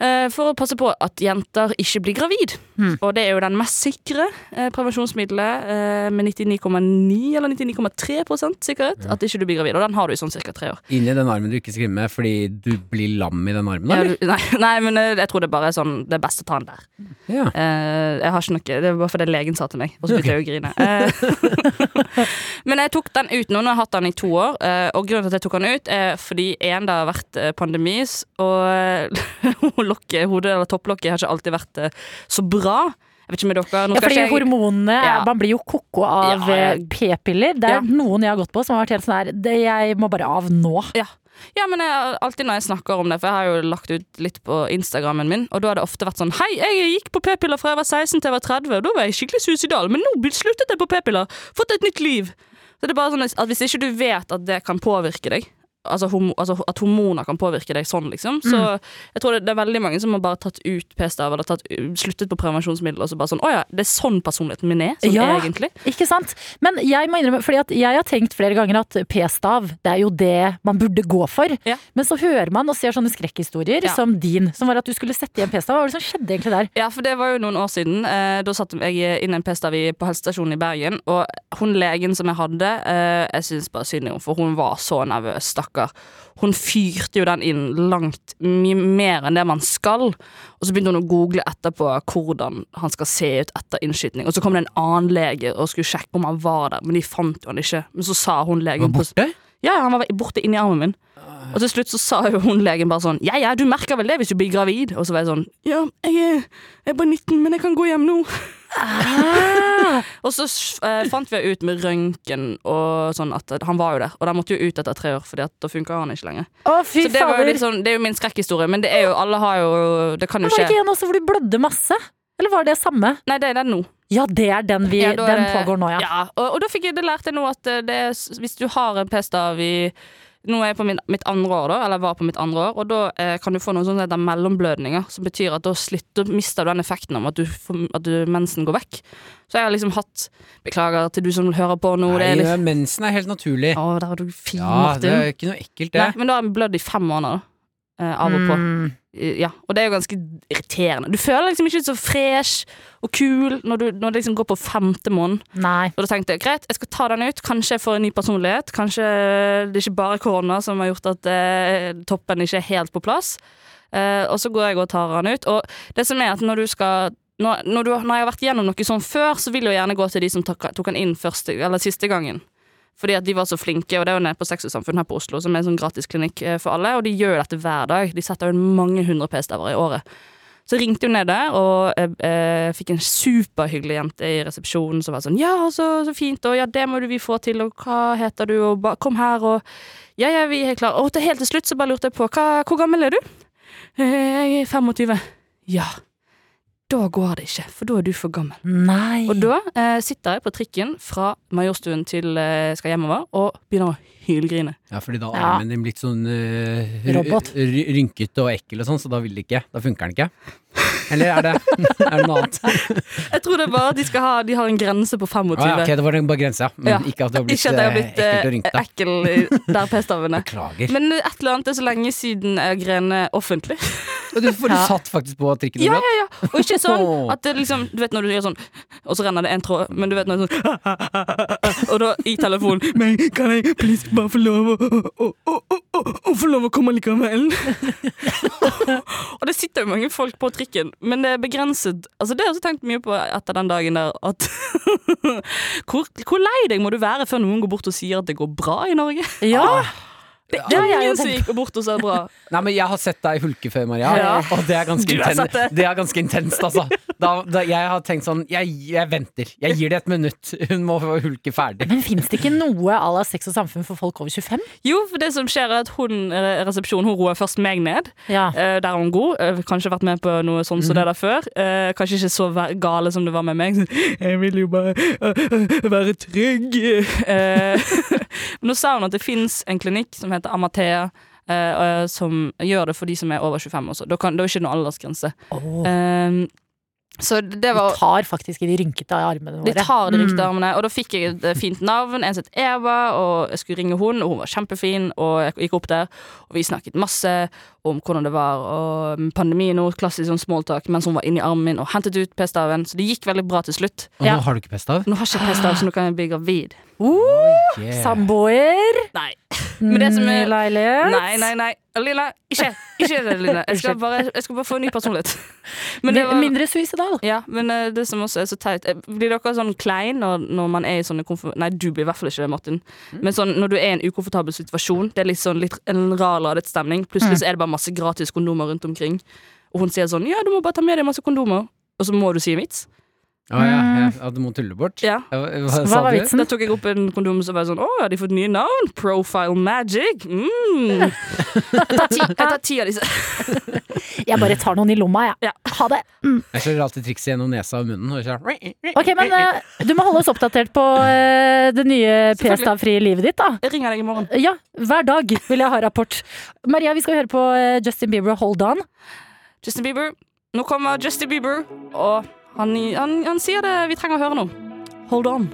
Speaker 8: eh, For å passe på at jenter ikke blir gravid. Og det er jo den mest sikre eh, prevensjonsmiddelet eh, med 99,9 eller 99,3 sikkerhet. At ikke du blir gravid. Og den har du i sånn ca. tre år.
Speaker 3: Inn i den armen du ikke skriver med fordi du blir lam i den armen?
Speaker 8: Ja,
Speaker 3: Eller?
Speaker 8: du- nei, nei, men eh, jeg tror det er bare sånn Det er best å ta den der.
Speaker 3: Ja.
Speaker 8: Eh, jeg har ikke noe Det var bare fordi legen sa til meg, og så begynte jeg å grine. Eh, men jeg tok den ut nå. Nå har jeg hatt den i to år. eh, og grunnen til at jeg tok den ut, er fordi én, det har vært eh, pandemi, s- og uh, lokket, hodet eller topplokket har ikke alltid vært eh, så bra. Jeg vet ikke med dere. Nå
Speaker 2: Ja,
Speaker 8: skal
Speaker 2: fordi
Speaker 8: ikke jeg-
Speaker 2: hormonene er-
Speaker 8: Ja.
Speaker 2: Man blir jo koko av
Speaker 8: Ja, ja.
Speaker 2: eh, p-piller. Det er
Speaker 8: Ja.
Speaker 2: noen jeg har gått på som har vært helt sånn her det Jeg må bare av nå.
Speaker 8: Ja. ja, men jeg, alltid når jeg snakker om det, for jeg har jo lagt ut litt på Instagrammen min, og da har det ofte vært sånn Hei, jeg gikk på p-piller fra jeg var 16 til jeg var 30, og da var jeg skikkelig suicidal, men nå be- sluttet jeg på p-piller. Fått et nytt liv. Så det er bare sånn at Hvis ikke du vet at det kan påvirke deg, altså, homo, altså at hormoner kan påvirke deg sånn, liksom, så jeg tror det, det er veldig mange som har bare tatt ut p-stav eller tatt, sluttet på prevensjonsmidler og så bare sånn Å ja, det er sånn personligheten min er, sånn
Speaker 2: Ja.
Speaker 8: egentlig.
Speaker 2: Ikke sant? Men jeg må innrømme, fordi at jeg har tenkt flere ganger at p-stav, det er jo det man burde gå for.
Speaker 8: Ja.
Speaker 2: Men så hører man og ser sånne skrekkhistorier
Speaker 8: Ja.
Speaker 2: som din, som var at du skulle sette igjen p-stav. Hva var det som skjedde egentlig der?
Speaker 8: Ja, for det var jo noen år siden. Eh, da satte jeg inn en p-stav i- på helsestasjonen i Bergen. Og hun legen som jeg hadde, eh, jeg syns bare synd i henne, for hun var så nervøs, stakkar. Hun fyrte jo den inn langt mye mer enn det man skal. Og så begynte hun å google etterpå hvordan han skal se ut etter innskyting. Og så kom det en annen lege og skulle sjekke om han var der, men de fant jo han ikke. Men så sa hun legen på- ja, han var borte inni armen min. Og til slutt så sa jo hun legen bare sånn Ja, ja, du merker vel det hvis du blir gravid? Og så
Speaker 2: Ah.
Speaker 8: var jeg sånn Ja, jeg er, jeg er bare 19, men jeg kan gå hjem nå. og Og så eh, fant vi ut med røntgen og sånn at han var jo der. Og den måtte jo ut etter tre år, Fordi at da funka han ikke lenger.
Speaker 2: Å, fy
Speaker 8: Så det, var jo
Speaker 2: fader.
Speaker 8: litt sånn, det er jo min skrekkhistorie, men det er jo, alle har jo Det kan jo
Speaker 2: Men var liksom det ikke
Speaker 8: skje.
Speaker 2: en også hvor du blødde masse? Eller var det samme?
Speaker 8: Nei, det er den nå.
Speaker 2: Ja, det er den vi
Speaker 8: Ja, da er
Speaker 2: Den
Speaker 8: det-
Speaker 2: pågår nå, ja.
Speaker 8: Ja, og, og da fikk jeg det lærte jeg nå at eh, det er, s- hvis du har en p-stav i Nå er jeg på min, mitt andre år, da, eller var på mitt andre år, og da eh, kan du få noen sånne der mellomblødninger, som betyr at da slutter, mister du den effekten om at, du, får- at du, mensen går vekk. Så jeg har liksom hatt Beklager til du som hører på nå, det
Speaker 3: Nei,
Speaker 8: er litt
Speaker 3: mensen er helt naturlig.
Speaker 8: Å, der var du fin,
Speaker 3: Ja, det
Speaker 8: Martin.
Speaker 3: er ikke noe ekkelt, det.
Speaker 8: Nei, men da har jeg blødd i fem måneder, da. Eh, av og på.
Speaker 2: Mm.
Speaker 8: Ja, og det er jo ganske irriterende. Du føler liksom ikke så fresh og kul når, du, når det liksom går på femte måned.
Speaker 2: Nei.
Speaker 8: Og da tenkte jeg greit, jeg skal ta den ut. Kanskje jeg får en ny personlighet. Kanskje det er ikke bare korona som har gjort at eh, toppen ikke er helt på plass. Eh, og så går jeg og tar den ut. Og det som er at når du skal når, når, du, når jeg har vært gjennom noe sånn før, så vil jeg jo gjerne gå til de som tok, tok den inn første, eller siste gangen. Fordi at de var så flinke, og det er jo nede på Sexusamfunnet her på Oslo, som er en sånn gratisklinikk eh, for alle, og de gjør dette hver dag. De setter jo mange hundre p-staver i året. Så jeg ringte hun ned der, og eh, eh, fikk en superhyggelig jente i resepsjonen som var sånn Ja, så, så fint, og ja, det må du vi få til, og hva heter du, og ba, kom her, og Ja, ja, vi er helt klare. Og til helt til slutt så bare lurte jeg på hva, Hvor gammel er du? «Eh, Jeg er 25. Ja. Da går det ikke, for da er du for gammel.
Speaker 2: Nei.
Speaker 8: Og da eh, sitter jeg på trikken fra Majorstuen til eh, skal hjemover og begynner å hylgrine.
Speaker 3: Ja, fordi da er
Speaker 2: Ja.
Speaker 3: armen din blitt sånn eh, ry-
Speaker 2: Robot.
Speaker 3: ry- rynkete og ekkel og sånn, så da vil det ikke. Da funker den ikke. Eller er det, er det noe annet?
Speaker 8: Jeg tror det er bare at de, skal ha, de har en grense på 25.
Speaker 3: Ah, ja, ok, det var den bare grensa. Men
Speaker 8: Ja.
Speaker 3: ikke at du har blitt,
Speaker 8: ikke at jeg har blitt
Speaker 3: eh, ekkelt og
Speaker 8: eh,
Speaker 3: rynkete.
Speaker 8: ekkel i- der p-stavene.
Speaker 3: Beklager.
Speaker 8: Men et eller annet er så lenge siden jeg gren eh, offentlig.
Speaker 3: Og du, for du satt faktisk på trikken og
Speaker 8: Ja,
Speaker 3: gråt.
Speaker 8: ja, ja. Og ikke sånn at det liksom Du vet når du gjør sånn, og så renner det en tråd, men du vet når det er sånn Og da i telefonen Men kan jeg please bare få lov å å, å, å, å, å få lov å komme likevel? og det sitter jo mange folk på trikken, men det er begrenset. Altså Det har jeg også tenkt mye på etter den dagen der, at hvor, hvor lei deg må du være før noen går bort og sier at det går bra i Norge? Ah,
Speaker 2: Ja!
Speaker 8: Det
Speaker 2: Ja,
Speaker 8: er
Speaker 2: jeg tenker
Speaker 8: ingen som gikk bort og sa bra.
Speaker 3: Nei, men jeg har sett deg hulke før, Maria,
Speaker 8: Ja.
Speaker 3: og det er ganske,
Speaker 8: Du har
Speaker 3: inten
Speaker 8: sett det.
Speaker 3: det er ganske intenst, altså. Da, da, jeg har tenkt sånn, jeg, jeg venter. Jeg gir det et minutt. Hun må få hulke ferdig.
Speaker 2: Men fins det ikke noe à la Sex og samfunn for folk over 25?
Speaker 8: Jo, for det som skjer er at hun, eh, resepsjonen, hun roer først meg ned.
Speaker 2: Ja. Mhm.
Speaker 8: Eh, der er hun god. Eh, kanskje vært med på noe sånn som det der før. Eh, kanskje ikke så væ- gale som det var med meg. Sånn, Jeg vil jo bare øh, øh, være trygg. Eh, nå sa hun at det fins en klinikk som heter Amathea. eh, eh, som gjør det for de som er over 25 også. Da, kan, da er det ikke noe aldersgrense.
Speaker 2: Åh.
Speaker 8: Eh, så det
Speaker 2: Vi
Speaker 8: var
Speaker 2: tar faktisk i de rynkete armene våre.
Speaker 8: de tar de riktige
Speaker 2: Mm.
Speaker 8: armene. Og da fikk jeg et eh, fint navn. En som het Eva, og jeg skulle ringe hun, og hun var kjempefin. Og jeg gikk opp der, og vi snakket masse om hvordan det var. Og mm, pandemi nå, klassisk sånn smalltalk, mens hun var inni armen min og hentet ut p-staven. Så det gikk veldig bra til slutt.
Speaker 3: Og
Speaker 2: Ja.
Speaker 3: nå har du ikke pest av?
Speaker 8: Nå har jeg ikke p-stav, så nå kan jeg bli gravid.
Speaker 2: Uh,
Speaker 3: Yeah.
Speaker 2: Samboer.
Speaker 8: Nei. Men det som
Speaker 2: Ny
Speaker 8: er-
Speaker 2: leilighet.
Speaker 8: Nei, nei, nei. Lilla, ikke ikke det, Lilla. Jeg skal bare, jeg skal bare få en ny personlighet. Men det
Speaker 2: Mi-
Speaker 8: var-
Speaker 2: Mindre suicidal.
Speaker 8: Ja, men eh, det som også er så teit eh, Blir dere sånn klein når, når man er i sånne konf- Nei, du blir i hvert fall ikke det, Martin. Men sånn, når du er i en ukomfortabel situasjon, det er litt sånn litt, en rar ladet stemning. Plutselig så er det bare masse gratis kondomer rundt omkring. Og hun sier sånn Ja, du må bare ta med deg masse kondomer. Og så må du si en vits.
Speaker 3: Å ja, ja, ja, du må tulle bort.
Speaker 8: Mm. Ja.
Speaker 3: Hva, hva,
Speaker 2: Hva
Speaker 3: sa
Speaker 2: var
Speaker 3: du?
Speaker 2: vitsen?
Speaker 8: Da tok jeg opp en kondom som var sånn Å, har de fått nye navn? Profile Magic? Mm. Jeg tar ti, jeg tar ti av disse.
Speaker 2: Jeg bare tar noen i lomma, jeg.
Speaker 8: Ja.
Speaker 2: Ha det.
Speaker 3: Jeg slår alltid trikset gjennom nesa og munnen. Og så,
Speaker 2: Ok, men eh, du må holde oss oppdatert på eh, det nye
Speaker 8: Selvfølgelig.
Speaker 2: p-stavfrie livet ditt, da.
Speaker 8: Jeg ringer deg i morgen.
Speaker 2: Ja, hver dag vil jeg ha rapport. Maria, vi skal høre på eh, Justin Bieber og Hold On.
Speaker 8: Justin Bieber. Nå kommer Justin Bieber, og han, han, han sier det vi trenger å høre nå. Hold on.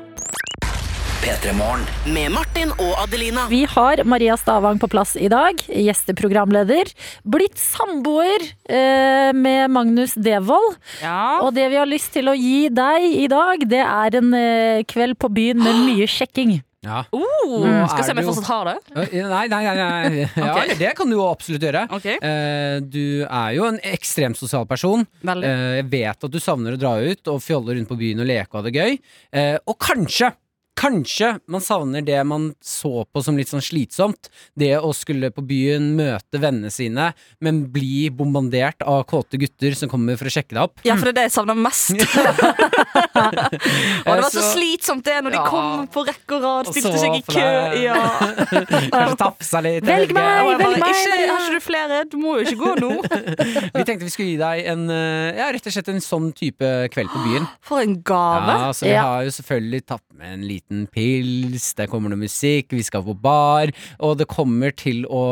Speaker 4: P3morgen.
Speaker 5: Med Martin og Adelina.
Speaker 2: Vi har Maria Stavang på plass i dag, gjesteprogramleder. Blitt samboer eh, med Magnus Devold.
Speaker 8: Ja.
Speaker 2: Og det vi har lyst til å gi deg i dag, det er en eh, kveld på byen med mye sjekking.
Speaker 3: ja.
Speaker 8: Oh,
Speaker 3: Nå
Speaker 8: skal
Speaker 3: er
Speaker 8: se om
Speaker 3: det
Speaker 8: jeg
Speaker 3: jo-
Speaker 8: fortsatt har det.
Speaker 3: Nei, nei, nei. nei. Ja,
Speaker 8: Ok.
Speaker 3: eller Det kan du jo absolutt gjøre.
Speaker 8: Ok,
Speaker 3: Eh, du er jo en ekstremt sosial person.
Speaker 8: veldig.
Speaker 3: Eh, jeg vet at du savner å dra ut og fjolle rundt på byen og leke og ha det gøy. Eh, og kanskje Kanskje man savner det man så på som litt sånn slitsomt. Det å skulle på byen, møte vennene sine, men bli bombardert av kåte gutter som kommer for å sjekke deg opp.
Speaker 8: Ja, for det er det jeg savner mest. og det var så
Speaker 3: Så-
Speaker 8: slitsomt det når de
Speaker 3: Ja.
Speaker 8: kom på rekke og rad,
Speaker 3: Og
Speaker 8: stilte
Speaker 3: så
Speaker 8: seg i
Speaker 3: for
Speaker 8: kø.
Speaker 3: deg.
Speaker 8: Ja.
Speaker 3: Kanskje tafsa litt. jeg
Speaker 2: Velg
Speaker 3: vet ikke.
Speaker 2: meg!
Speaker 8: Og jeg bare,
Speaker 2: velg meg,
Speaker 8: ikke,
Speaker 2: velg meg.
Speaker 8: har ikke du flere? Du må jo ikke gå nå.
Speaker 3: Vi tenkte vi skulle gi deg en eh, Ja, rett og slett en sånn type kveld på byen.
Speaker 8: For en gave.
Speaker 3: Ja, så vi
Speaker 2: Ja.
Speaker 3: har jo selvfølgelig tatt med en liten pils, det kommer noe musikk, vi skal på bar, og det kommer til å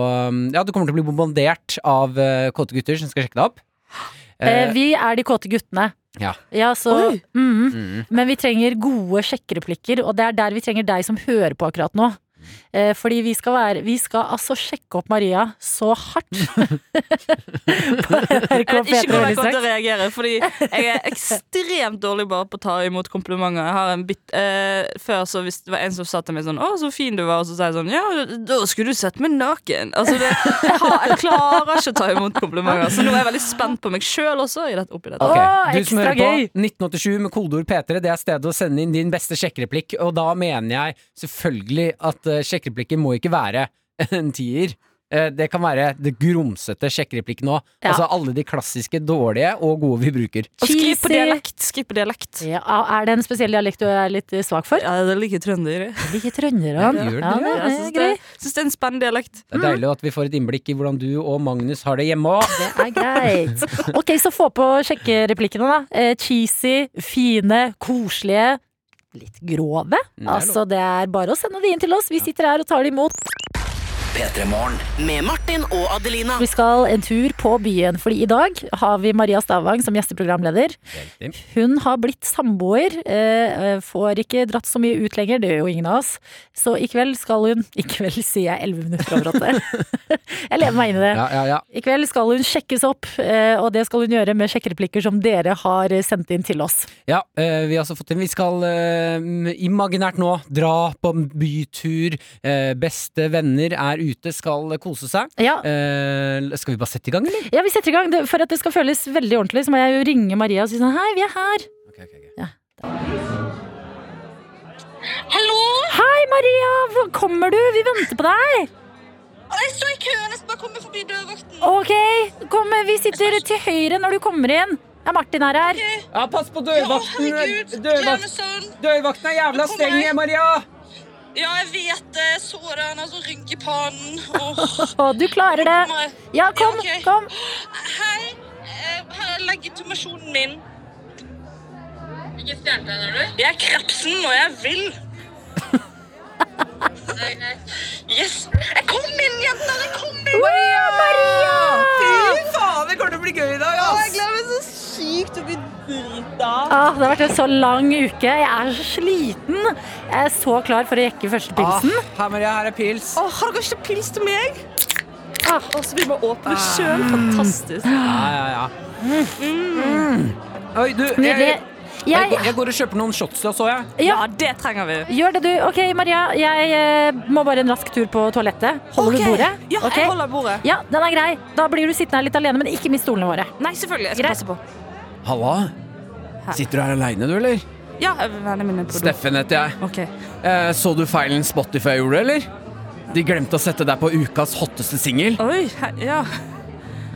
Speaker 3: Ja, du kommer til å bli bombardert av eh, kåte gutter som skal sjekke deg opp.
Speaker 2: Eh, vi er de kåte guttene.
Speaker 3: Ja.
Speaker 2: så,
Speaker 7: Oi.
Speaker 2: mhm.
Speaker 3: mm.
Speaker 2: Men vi trenger gode sjekkereplikker, og det er der vi trenger deg som hører på akkurat nå. Eh, fordi vi skal, være, vi skal altså sjekke opp Maria så hardt på NRK P3
Speaker 8: Jeg vet Eh, ikke hvordan
Speaker 2: veldig
Speaker 8: jeg kommer til
Speaker 2: straks.
Speaker 8: å reagere, fordi jeg er ekstremt dårlig bare på å ta imot komplimenter. Jeg har en bit, eh, før så hvis det var en som sa til meg sånn 'Å, så fin du var', og så sa jeg sånn 'Ja, da skulle du sett meg naken'. Altså, det, jeg, har, jeg klarer ikke å ta imot komplimenter, så nå er jeg veldig spent på meg sjøl også. I dette, oppi dette.
Speaker 3: Ok,
Speaker 2: Åh,
Speaker 3: Du
Speaker 2: ekstra
Speaker 3: som hører på,
Speaker 2: gøy!
Speaker 3: 1987 med kodeord P3, det er stedet å sende inn din beste sjekkereplikk. Og da mener jeg selvfølgelig at eh, sjekkereplikken må ikke være en tier. Eh, Det kan være det grumsete sjekkereplikken nå.
Speaker 2: Ja.
Speaker 3: Altså alle de klassiske dårlige og gode vi bruker.
Speaker 8: Og skriv på
Speaker 2: Cheesy.
Speaker 8: dialekt. Skriv på dialekt.
Speaker 2: Ja, er det en spesiell dialekt du er litt eh, svak for?
Speaker 8: Ja, det liker trøndere.
Speaker 2: Ikke trønderne.
Speaker 3: Gjør det?
Speaker 2: Ja, det
Speaker 8: Jeg
Speaker 2: er
Speaker 8: syns det,
Speaker 2: grei.
Speaker 8: synes det er en spennende dialekt.
Speaker 3: Det er
Speaker 2: Mm.
Speaker 3: deilig at vi får et innblikk i hvordan du og Magnus har det hjemme òg.
Speaker 2: Det er greit. Ok, så få på sjekkereplikkene, da. Eh, cheesy, fine, koselige. Litt grove.
Speaker 3: er lov.
Speaker 2: Altså, det er bare å sende de inn til oss. Vi sitter her og tar det imot.
Speaker 4: P3 Morgen.
Speaker 5: Med Martin og Adelina.
Speaker 2: Vi skal en tur på byen, fordi i dag har vi Maria Stavang som gjesteprogramleder. Hun har blitt samboer, eh, får ikke dratt så mye ut lenger, det gjør jo ingen av oss. Så i kveld skal hun I kveld sier jeg 11 minutter over åtte. jeg lever meg inn i det.
Speaker 3: Ja, ja, ja.
Speaker 2: I kveld skal hun sjekkes opp, eh, og det skal hun gjøre med sjekkereplikker som dere har sendt inn til oss.
Speaker 3: Ja, eh, vi har altså fått inn Vi skal eh, imaginært nå dra på en bytur. Eh, beste venner er ute, skal kose seg.
Speaker 2: Ja,
Speaker 3: Eh, skal vi bare sette i gang, eller?
Speaker 2: ja vi setter i gang. Det- For at det skal føles veldig ordentlig, så må jeg jo ringe Maria og si sånn Hei, vi er her.
Speaker 10: Hallo?
Speaker 2: Hei, Maria! Hvor kommer du? Vi venter på deg!
Speaker 10: Å, Jeg står i kø, jeg skal bare komme forbi dørvakten.
Speaker 2: Ok, kom, vi sitter til høyre når du kommer inn. Ja, Martin er her.
Speaker 3: Ja, pass på
Speaker 10: Å, herregud. Glemme søvn.
Speaker 3: Dørvakten er jævla
Speaker 10: Nå kommer streng, jeg.
Speaker 3: Maria!
Speaker 10: Ja, jeg vet det. Sårene, altså rynk i pannen. Åh,
Speaker 2: Å, du klarer det.
Speaker 10: meg.
Speaker 2: Ja, kom,
Speaker 10: Ja, ok.
Speaker 2: kom.
Speaker 10: Hei, eh, her er legitimasjonen min. Hvilken stjernetegn er du? Jeg er krepsen, og jeg vil. Yes. Jeg kom inn, jenter! Jeg kom inn!
Speaker 3: Fy faen, det kommer til å bli gøy i dag, ass!
Speaker 2: Ah, det har vært en så lang uke. Jeg er så sliten. Jeg er så klar for å rekke første pilsen.
Speaker 3: Ah, her, Maria, her er pils.
Speaker 8: har dere ikke pils til meg? Ah.
Speaker 2: Ah.
Speaker 8: så altså, vi må åpne sjøl. Fantastisk.
Speaker 3: Ja, ja, ja. Mm. Oi, du, jeg,
Speaker 2: Nydelig.
Speaker 3: jeg, går-
Speaker 2: Jeg
Speaker 3: jeg går og kjøper noen shots til oss òg, jeg.
Speaker 8: Ja,
Speaker 2: Ja.
Speaker 8: det trenger vi.
Speaker 2: gjør det, du. Ok, Maria, jeg eh, må bare en rask tur på toalettet. Holder
Speaker 8: Ok.
Speaker 2: du bordet?
Speaker 8: Ja,
Speaker 2: Ok.
Speaker 8: jeg holder bordet.
Speaker 2: Ja, den er grei. Da blir du sittende her litt alene, men ikke mist stolene våre.
Speaker 8: Nei, selvfølgelig. Jeg skal
Speaker 2: Greit.
Speaker 8: passe på.
Speaker 3: Halla. Sitter du her aleine, du, eller?
Speaker 8: Ja, vennene mine er på do.
Speaker 3: Steffen heter jeg.
Speaker 8: Ok.
Speaker 3: Eh, så du feilen Spotify gjorde, eller? De glemte å sette deg på ukas hotteste singel.
Speaker 8: Oi, he- ja.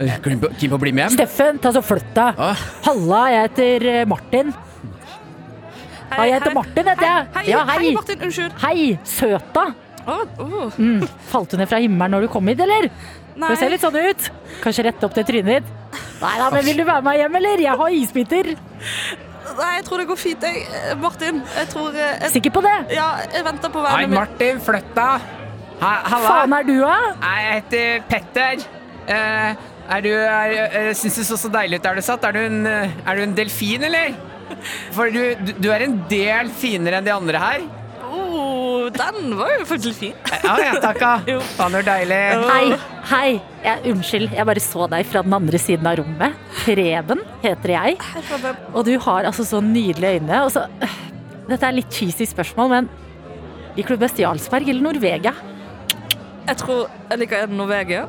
Speaker 3: Eh, Keen på- keen på å bli med hjem?
Speaker 2: Steffen, ta så flytt deg.
Speaker 3: Ah,
Speaker 2: Halla, jeg heter eh, Martin. Ja, Ah, jeg heter Martin, heter jeg.
Speaker 8: Hei,
Speaker 2: Ja,
Speaker 8: hei.
Speaker 2: hei. Mm.
Speaker 8: Martin. Unnskyld.
Speaker 2: Hei, søta.
Speaker 8: Å, å.
Speaker 2: Falt du ned fra himmelen når du kom hit, eller?
Speaker 8: Nei.
Speaker 2: Det ser litt sånn ut. Kanskje rette opp det trynet ditt. Nei da, men vil du være med hjem, eller? Jeg har isbiter.
Speaker 8: Nei, jeg tror det går fint. Jeg, eh, Martin, jeg tror eh, jeg,
Speaker 2: Sikker på det?
Speaker 8: Ja, jeg venter på
Speaker 3: Hei,
Speaker 8: vennene mine.
Speaker 3: Martin, flytt deg! Ha-
Speaker 2: Faen
Speaker 3: Halla!
Speaker 2: er du, da?
Speaker 3: Hei, Jeg heter Petter. Eh, er du er, eh, Syns du så så deilig ut der du satt? Er du en, eh, er du en delfin, eller? For du, du, du er en del finere enn de andre her. Eh,
Speaker 8: Å, Oh, den var jo faktisk fin.
Speaker 3: Ja, ja, takka. Faen, det var deilig.
Speaker 2: Hei, hei. Jeg, unnskyld, jeg bare så deg fra den andre siden av rommet. Preben heter jeg. Og du har altså så nydelige øyne. Og så øh, Dette er litt cheesy spørsmål, men liker du best Jarlsberg eller Norvegia?
Speaker 8: Jeg tror jeg liker en Norvegia.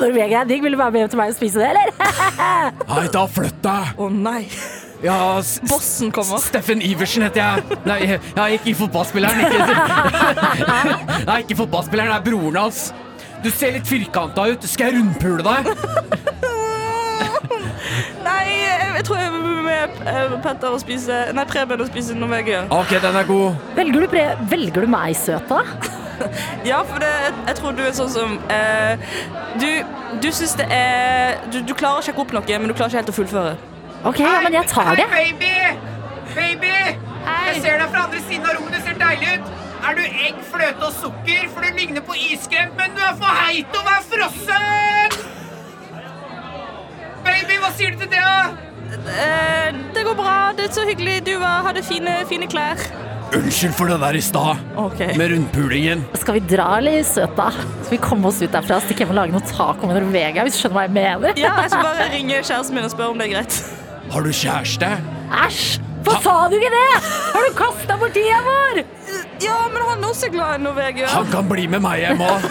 Speaker 2: Norvegia er digg. Vil du være med hjem til meg og spise det, eller?
Speaker 3: Hei, da flytt deg!
Speaker 8: Å nei.
Speaker 3: Ja, s- s-
Speaker 8: Bossen kommer.
Speaker 3: Steffen Iversen heter jeg. Nei, jeg- ja, ikke fotballspilleren. Ikke, nei, ikke fotballspilleren, det er broren hans. Du ser litt firkanta ut. Skal jeg rundpule deg?
Speaker 8: Nei, jeg, jeg tror jeg vil med eh, Petter og spise Nei, Preben og spise Norvegia.
Speaker 3: Ok, den er god.
Speaker 2: Velger du, pre velger du meg, søta?
Speaker 8: Ja, for det, jeg, jeg tror du er sånn som eh, Du, du syns det er du, du klarer å sjekke opp noe, men du klarer ikke helt å fullføre.
Speaker 2: OK, ja, men jeg tar det.
Speaker 9: baby! Baby! Jeg ser deg fra andre siden av rommet. Det ser deilig ut. Er du egg, fløte og sukker? For du ligner på iskrem, men du er for heit til å være frossen! Baby, hva sier du til det, da?
Speaker 8: Eh, det går bra. Det er så hyggelig. Du var, hadde fine, fine klær.
Speaker 3: Unnskyld for det der i stad,
Speaker 8: OK.
Speaker 3: med rundpulingen.
Speaker 2: Skal vi dra, eller, søta? Skal vi komme oss ut derfra og stikke hjem og lage noe taco med Norvegia? Hvis du skjønner hva jeg mener?
Speaker 8: Ja, jeg skal bare ringe kjæresten min og spørre om det er greit.
Speaker 3: Har du kjæreste?
Speaker 2: Æsj! Hvorfor sa du ikke det? Har du kasta bort tida vår?
Speaker 8: Ja, men han er også glad i Norvegia.
Speaker 3: Han kan bli med meg hjem òg.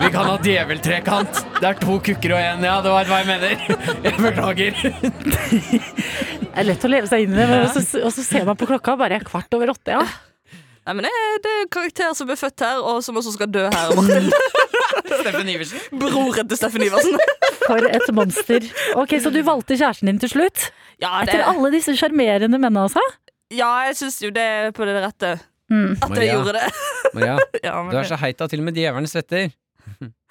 Speaker 3: Vi kan ha djeveltrekant. Det er to kukker og én. Ja, det var hva jeg mener. Jeg beklager.
Speaker 2: Det er lett å leve seg inn i det, men også, og så ser man på klokka bare kvart over åtte. ja.
Speaker 8: Nei, men det, er- det er karakterer som er født her, og som også skal dø her. Martin.
Speaker 3: Steffen Iversen.
Speaker 8: Broren til Steffen Iversen.
Speaker 2: For et monster. Ok, Så du valgte kjæresten din til slutt?
Speaker 8: Ja, det,
Speaker 2: Etter alle disse sjarmerende mennene, altså?
Speaker 8: ja jeg syns jo det er på det rette.
Speaker 2: Mm.
Speaker 8: At jeg
Speaker 3: Maria.
Speaker 8: gjorde det.
Speaker 3: Maria,
Speaker 8: Ja, men
Speaker 3: du er så heit at til og med djevelen svetter.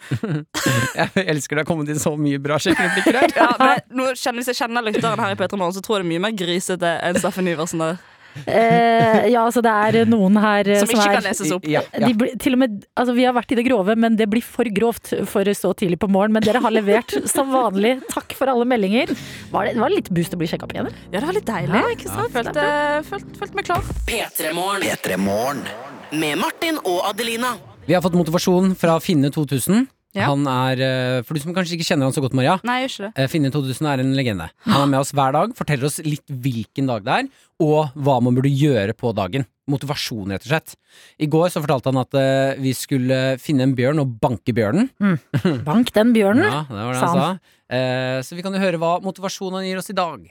Speaker 3: Jeg elsker det har kommet inn så mye bra sjekkereplikker her.
Speaker 8: Ja, men jeg, nå kjenner, Hvis jeg kjenner lytteren her i Petra Morgen, så tror jeg det er mye mer grisete enn Steffen Iversen. der
Speaker 2: Eh, ja, altså det er noen her eh,
Speaker 8: Som ikke
Speaker 2: er
Speaker 8: kan leses opp.
Speaker 3: Ja, ja.
Speaker 2: de blir, til og med, altså Vi har vært i det grove, men det blir for grovt for så tidlig på morgen. Men dere har levert som vanlig. Takk for alle meldinger. Var det, var det litt boost å bli sjekka opp igjen? eller?
Speaker 8: Ja, det var litt deilig. Følte, følte, følte meg klar.
Speaker 5: P3morgen.
Speaker 4: P3 Morgen.
Speaker 5: Med Martin og Adelina.
Speaker 3: Vi har fått motivasjon fra Finne 2000.
Speaker 8: Ja.
Speaker 3: Han er, eh, for du som kanskje ikke kjenner han så godt, Maria.
Speaker 8: Nei, jeg gjør ikke det.
Speaker 3: eh, Finne 2000 er en legende. Han er med oss hver dag, forteller oss litt hvilken dag det er, og hva man burde gjøre på dagen. Motivasjon, rett og slett. I går så fortalte han at eh, vi skulle finne en bjørn og banke bjørnen.
Speaker 8: Mm.
Speaker 2: Bank den bjørnen.
Speaker 3: Ja, det var det
Speaker 2: Sa
Speaker 3: han sa.
Speaker 2: han.
Speaker 3: Eh, Så vi kan jo høre hva motivasjonen han gir oss i dag.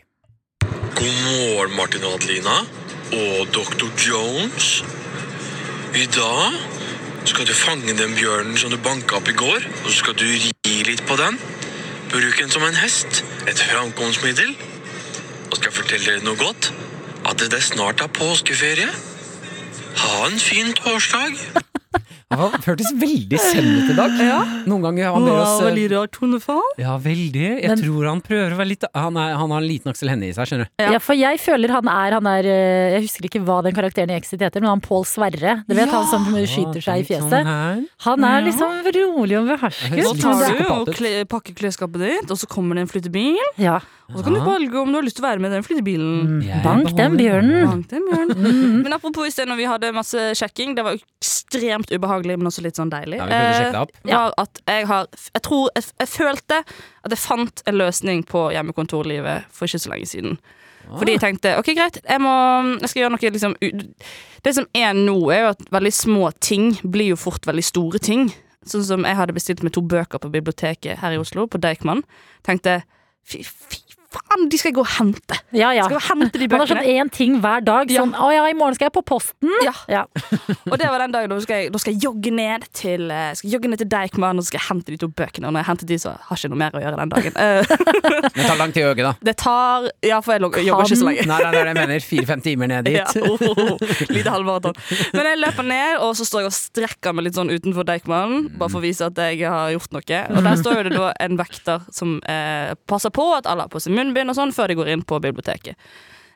Speaker 11: God morgen, Martin og Adelina og Dr. Jones. I dag skal du fange den bjørnen som du banka opp i går, og så skal du ri litt på den. Bruk den som en hest, et framkomstmiddel. Og skal jeg fortelle dere noe godt? At det snart er påskeferie. Ha en fin torsdag.
Speaker 3: Han hørtes veldig zen ut i dag. Noen ganger han ber oss eh,
Speaker 8: rar tonefall.
Speaker 3: Ja, veldig. Jeg
Speaker 2: Men-
Speaker 3: tror han prøver å være litt Han, er, han har en liten Aksel Hennie i seg, skjønner du.
Speaker 2: Ja. for jeg føler han er, han er eh, Jeg husker ikke hva den karakteren i Exit heter, men han Pål Sverre. Dere vet han som skyter seg i
Speaker 8: sånn
Speaker 2: fjeset? Han er liksom rolig og
Speaker 8: Da
Speaker 2: behersket.
Speaker 3: Godt.
Speaker 8: tar du
Speaker 3: Sykt
Speaker 8: og
Speaker 3: sykopat ut.
Speaker 8: kle, pakker klesskapet ditt, og så kommer det en flyttebil.
Speaker 2: Ja.
Speaker 8: Og så kan du
Speaker 3: Ja.
Speaker 8: valge om du har lyst til å være med i den flyttebilen.
Speaker 3: Jeg
Speaker 2: Bank den
Speaker 3: beholder-
Speaker 2: bjørnen.
Speaker 8: Mm. Langt til, Bjørn. Men apropos i sted når vi hadde masse sjekking, det var ekstremt ubehagelig, men også litt sånn deilig.
Speaker 3: Ja, vi prøvde å sjekke det opp.
Speaker 8: Eh, var at jeg har Jeg tror jeg, jeg følte at jeg fant en løsning på hjemmekontorlivet for ikke så lenge siden. Fordi jeg tenkte ok, greit, jeg, må, jeg skal gjøre noe liksom u- Det som er nå, er jo at veldig små ting blir jo fort veldig store ting. Sånn som jeg hadde bestilt meg to bøker på biblioteket her i Oslo, på Deichman. Tenkte fy, fy faen, de skal jeg gå og hente!
Speaker 2: Ja, ja.
Speaker 8: Skal jeg hente de
Speaker 2: Han har
Speaker 8: bøkene?
Speaker 2: sånn én ting hver dag. Sånn 'Å ja, i morgen skal jeg på Posten'.
Speaker 8: Ja.
Speaker 2: Ja.
Speaker 8: Og det var den dagen da skal jeg, da skal jeg jogge ned til eh, Skal jeg jogge ned til Deichman og så skal jeg hente de to bøkene. Og når jeg henter de, så har jeg ikke noe mer å gjøre den dagen. Eh,
Speaker 3: Det tar lang tid å øke, da.
Speaker 8: det tar Ja, for jeg log- jobber ikke så lenge.
Speaker 3: Nei, nei, nei, jeg mener fire-fem timer ned dit.
Speaker 8: Ja, oh, oh, oh. Lite halvmaraton. Men jeg løper ned, og så står jeg og strekker meg litt sånn utenfor Deichmanen. Bare for å vise at jeg har gjort noe. Og der står jo det da en vekter som eh, passer på at alle har på seg munnbind og sånn før de går inn på biblioteket.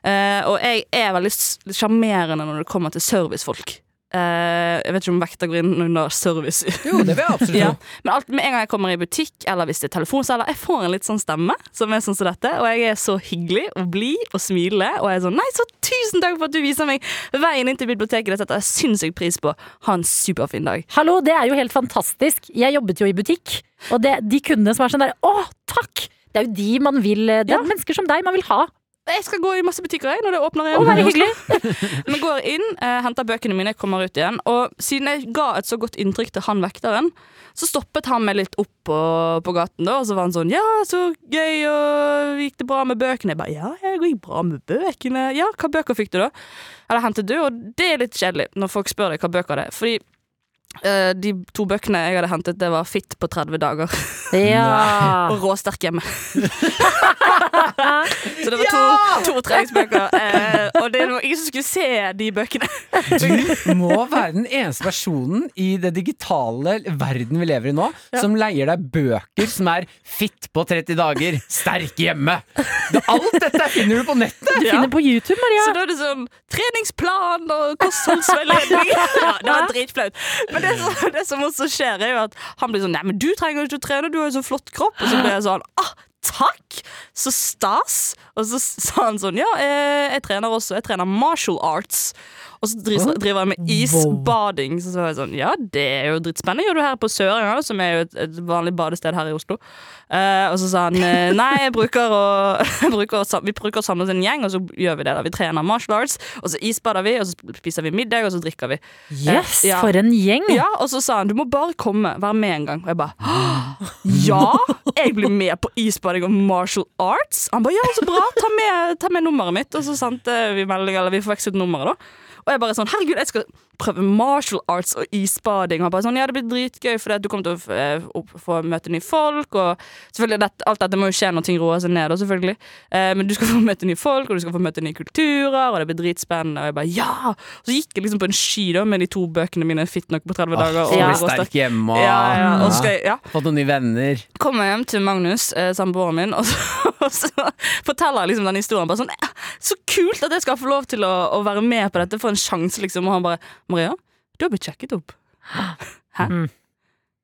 Speaker 8: Eh, og jeg er veldig s- sjarmerende når det kommer til servicefolk. Eh, jeg vet ikke om vekter går inn under service.
Speaker 3: Jo, det vil jeg absolutt
Speaker 8: Ja.
Speaker 3: tro.
Speaker 8: Men alt, med en gang jeg kommer i butikk eller hvis det er telefonselger, jeg får en litt sånn stemme som er sånn som dette, og jeg er så hyggelig og blid og smiler, og jeg er sånn Nei, så tusen takk for at du viser meg veien inn til biblioteket. Det setter jeg sinnssykt pris på. Ha en superfin dag.
Speaker 2: Hallo, det er jo helt fantastisk. Jeg jobbet jo i butikk, eh, og det, de kundene som er sånn der 'Å, takk', det er jo de man vil Det er mennesker som deg man vil ha
Speaker 8: Jeg skal gå i masse butikker jeg, når det åpner igjen.
Speaker 2: Å, veldig
Speaker 8: i Oslo. Men går inn, eh, henter bøkene mine, kommer ut igjen. Og siden jeg ga et så godt inntrykk til han vekteren, så stoppet han meg litt opp på, på gaten. da, Og så var han sånn Ja, så gøy, og gikk det bra med bøkene? Jeg bare Ja, jeg gikk bra med bøkene. Ja, hva bøker fikk du, da? Eller hentet du? Og det er litt kjedelig når folk spør deg hva bøker det er. Fordi eh, de to bøkene jeg hadde hentet, det var Fitt på 30 dager.
Speaker 2: Ja.
Speaker 8: og Råsterk hjemme. Så det var to, to treningsbøker. Eh, og det var ingen som skulle se de bøkene.
Speaker 3: Du må være den eneste personen i det digitale verden vi lever i nå, som leier deg bøker som er fitt på 30 dager, sterk hjemme. Det- Alt dette finner du på nettet!
Speaker 2: Jeg finner på YouTube, Maria.
Speaker 8: Så da er det sånn treningsplan og kostholdsveiledning. Ja, det var dritflaut. Men det som, det som også skjer, er jo at han blir sånn Nei, men du trenger ikke å trene, du har jo så flott kropp. Og så blir jeg sånn ah, Takk! Så stas! Og så sa han sånn Ja, eh, jeg trener også. Jeg trener martial arts. Og så driver, driver jeg med isbading. Så var jeg sånn Ja, det er jo dritspennende. Gjør du her på Sørenga, som er jo et, et vanlig badested her i Oslo. Eh, og så sa han eh, nei, jeg bruker å, jeg bruker å, sam- vi bruker å samle oss en gjeng, og så gjør vi det. da Vi trener martial arts, og så isbader vi, og så spiser vi middag, og så drikker vi. Eh,
Speaker 2: Yes, for en gjeng.
Speaker 8: ja, og så sa han du må bare komme, være med en gang. Og jeg bare «Hå! ja! Jeg blir med på isbading og martial arts. Han bare ja, så bra, ta med, ta med nummeret mitt. Og så sendte vi melding, eller vi forvekslet nummeret, da. Og jeg bare sånn herregud, jeg skal prøve martial arts og isbading. Og han bare sånn ja, det blir dritgøy, for du kommer til å f- eh, opp- få møte nye folk. Og selvfølgelig, dette- alt dette må jo skje når ting roer seg ned, da, selvfølgelig. Eh, men du skal få møte nye folk, og du skal få møte nye kulturer, og det blir dritspennende. Og jeg bare ja! Så gikk jeg liksom på en sky da med de to bøkene mine, Fitt nok på 30 dager.
Speaker 3: Å,
Speaker 8: og
Speaker 3: bli
Speaker 8: Gå sterk.
Speaker 3: sterk hjemme
Speaker 8: Ja, ja, og så skal jeg, ja.
Speaker 3: Fått noen nye venner.
Speaker 8: Kommer jeg hjem til Magnus, eh, samboeren min, og så, og så forteller jeg liksom den historien. Bare sånn, «Eh, Så kult at jeg skal få lov til å, å være med på dette, få en sjanse, liksom. Og han bare Maria, du har blitt sjekket opp. Hæ?
Speaker 2: Mm.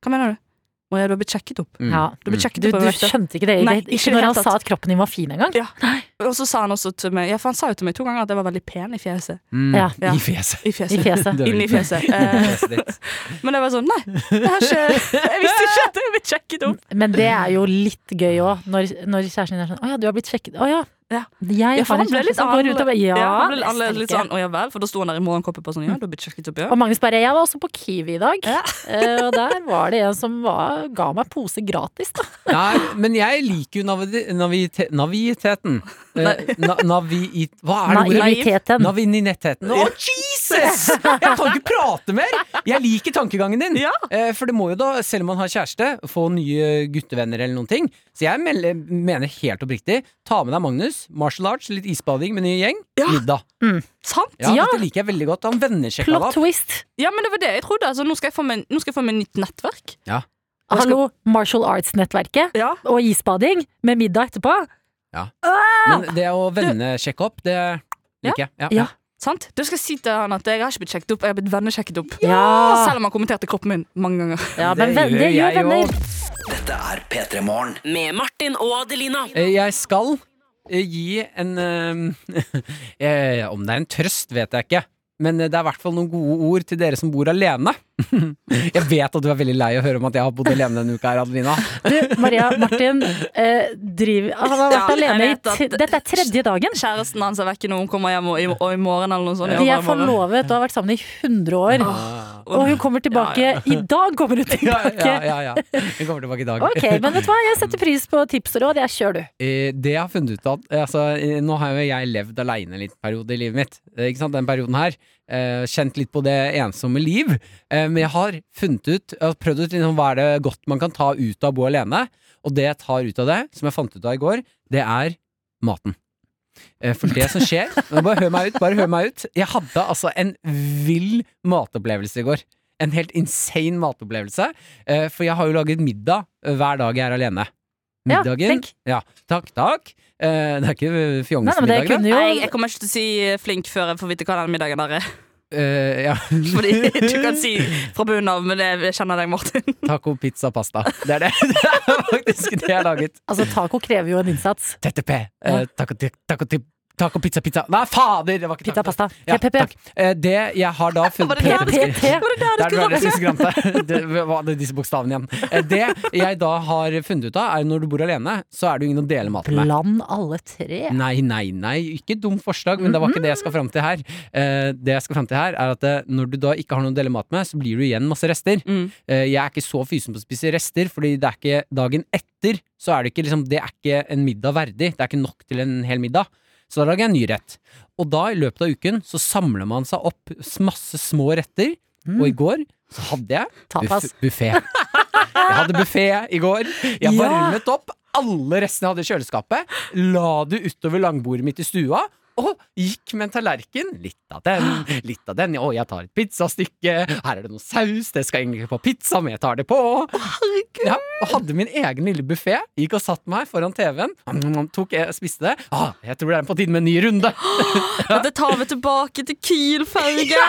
Speaker 8: Hva mener du? Maria, du har blitt sjekket opp.
Speaker 3: Mm.
Speaker 2: Ja.
Speaker 8: Du ble
Speaker 2: Du,
Speaker 8: sjekket
Speaker 2: du
Speaker 8: opp. av vekter.
Speaker 2: skjønte ikke det?
Speaker 8: Nei,
Speaker 2: Ikke,
Speaker 8: ikke i
Speaker 2: ikke når
Speaker 8: det
Speaker 2: han
Speaker 8: hele
Speaker 2: sa
Speaker 8: tatt.
Speaker 2: at kroppen din var fin engang.
Speaker 8: Ja. Og så sa han også til meg, ja, for han sa jo til meg to ganger at jeg var veldig pen i fjeset.
Speaker 2: Ja.
Speaker 8: Ja.
Speaker 3: Mm, I fjeset.
Speaker 8: I fjeset.
Speaker 2: I fjeset.
Speaker 8: Inni fjeset. Eh,
Speaker 3: Fjeset ditt.
Speaker 8: men jeg var sånn, nei, jeg, har ikke, jeg visste ikke at jeg ble sjekket opp.
Speaker 2: Men det er jo litt gøy òg, når, når kjæresten din er sånn Å ja, du har blitt sjekket. Å ja.
Speaker 8: Ja.
Speaker 2: Jeg
Speaker 8: Ja, for
Speaker 2: har en
Speaker 8: han ble
Speaker 2: kjæreste
Speaker 8: litt
Speaker 2: som går ut og
Speaker 8: annerledes.
Speaker 2: bare Ja.
Speaker 8: Ja, han ble litt annerledes, litt
Speaker 2: stemmer.
Speaker 8: sånn, å ja vel, for da sto han der i morgenkoppen på sånn, ja, du har blitt sjekket opp, ja.
Speaker 2: Og Magnus bare Jeg var også på Kiwi i dag. Eh, og der var det en som var, ga meg pose gratis, da.
Speaker 3: Nei, men jeg liker jo navi navite- naviteten. Eh, Na navi... Hva er det ordet?
Speaker 2: Naiviteten.
Speaker 3: Navinitettheten. Å, Jesus! Jeg kan ikke prate mer! Jeg liker tankegangen din.
Speaker 8: Ja.
Speaker 3: Eh, For det må jo da, selv om man har kjæreste, få nye guttevenner eller noen ting. Så jeg mel- mener helt oppriktig, ta med deg Magnus, martial arts, litt isbading med ny gjeng, middag.
Speaker 8: Sant?
Speaker 3: Ja,
Speaker 2: Ja.
Speaker 3: dette liker jeg veldig godt. Han vennesjekka
Speaker 2: Plot
Speaker 3: det opp.
Speaker 2: twist.
Speaker 8: Ja, men det var det jeg trodde. Altså, nå, skal jeg få meg, nå skal jeg få meg nytt nettverk. skal-
Speaker 2: Hallo, martial arts-nettverket.
Speaker 8: Ja.
Speaker 2: Og isbading med middag etterpå.
Speaker 3: Men det å vennesjekke opp, det liker jeg. Ja.
Speaker 2: Ja.
Speaker 8: Sant? Du skal jeg si til han at jeg har ikke blitt sjekket opp, jeg har blitt vennesjekket opp.
Speaker 2: Ja.
Speaker 8: Selv om han kommenterte kroppen min mange ganger.
Speaker 2: Ja, men
Speaker 3: Det
Speaker 2: venn-
Speaker 3: gjør
Speaker 2: det
Speaker 3: jeg
Speaker 2: gjør venner.
Speaker 3: jo.
Speaker 4: Dette er P3 Morgen.
Speaker 5: Med Martin og Adelina.
Speaker 3: Eh, Jeg skal eh, gi en eh, eh, Om det er en trøst, vet jeg ikke. Men eh, det er i hvert fall noen gode ord til dere som bor alene. jeg vet at du er veldig lei av å høre om at jeg har bodd alene denne uka her, Adelina.
Speaker 2: Du, Maria Martin eh, driver Han har vært
Speaker 8: Ja, jeg
Speaker 2: alene i
Speaker 8: vet at-
Speaker 2: t Dette er tredje dagen.
Speaker 8: Kjæresten hans er vekke når hun kommer hjem, og i, og i morgen eller noe sånt.
Speaker 2: De
Speaker 8: ja,
Speaker 2: er
Speaker 8: bare i morgen.
Speaker 2: forlovet og har vært sammen i 100 år. Og hun kommer tilbake
Speaker 8: Ja,
Speaker 2: I dag kommer hun
Speaker 3: Ja, ja,
Speaker 2: tilbake!
Speaker 3: ja, ja. Vi kommer tilbake i dag.
Speaker 2: Ok, men vet du hva, jeg setter pris på tips og råd. Jeg kjører, du.
Speaker 3: Eh, Det jeg har funnet ut av eh, altså, eh, Nå har jo jeg levd alene en liten periode i livet mitt. eh, Ikke sant, den perioden her eh, Kjent litt på det ensomme liv. eh, Men jeg har funnet ut Jeg har prøvd ut liksom, hva er det godt man kan ta ut av å bo alene. Og det jeg tar ut av det, som jeg fant ut av i går, det er maten. Eh, For det som skjer Nå Bare hør meg ut. bare hør meg ut Jeg hadde altså en vill matopplevelse i går. En helt insane matopplevelse. eh, For jeg har jo laget middag eh, hver dag jeg er alene.
Speaker 2: Ja,
Speaker 3: Middagen.
Speaker 2: flink.
Speaker 3: Ja, takk, takk. Eh, Det er ikke
Speaker 2: Nei, nei, men det
Speaker 3: fjongesmiddag, da.
Speaker 2: kunne
Speaker 8: Nei, jeg
Speaker 2: jo
Speaker 8: kommer ikke til å si eh, flink før jeg får vite hva den middagen der er.
Speaker 3: Eh, ja.
Speaker 8: Fordi du kan si fra bunnen av, men jeg kjenner deg, Martin.
Speaker 3: Taco, pizza, pasta. Det er det. Det er faktisk det jeg har laget.
Speaker 2: Altså, taco krever jo en innsats.
Speaker 3: TTP. Eh, taco, ti- taco, ti- Taco, pizza, pizza. Nei, fader! Det var ikke
Speaker 2: Pizza,
Speaker 3: taco.
Speaker 2: pasta.
Speaker 3: Ja,
Speaker 2: PPP.
Speaker 3: takk. Eh, Det jeg har da funnet
Speaker 2: det der det skulle-
Speaker 3: Det
Speaker 2: Var det der det
Speaker 3: er
Speaker 2: skulle
Speaker 3: det jeg synes gramte. Det var det disse bokstavene igjen. Eh, Det jeg da har funnet ut av, er når du bor alene, så er det jo ingen å dele maten med.
Speaker 2: Bland alle tre.
Speaker 3: Nei, nei, nei. Ikke et dumt forslag, men det var ikke det jeg skal fram til her. Eh, det jeg skal fram til her, er at eh, når du da ikke har noe å dele mat med, så blir du igjen masse rester. Eh, jeg er ikke så fysen på å spise rester, fordi det er ikke dagen etter så er det ikke liksom Det er ikke en middag verdig. Det er ikke nok til en hel middag. Så da lager jeg en ny rett. Og da, i løpet av uken, så samler man seg opp s- masse små retter, og i går så hadde jeg
Speaker 2: Tapas.
Speaker 3: buffé. Jeg hadde buffé i går. Jeg
Speaker 2: Ja.
Speaker 3: varmet opp alle restene jeg hadde i kjøleskapet. La det utover langbordet mitt i stua. Og gikk med en tallerken. Litt av den, litt av den. Å, jeg tar et pizzastykke. Her er det noe saus. Det skal egentlig ikke på pizza, men jeg tar det på. Ja, og hadde min egen lille buffé. Gikk og satt meg foran TV-en. Tok jeg spiste det. Ah, jeg tror det er på tide med en ny runde.
Speaker 8: Dette tar vi tilbake til Kiel-ferge.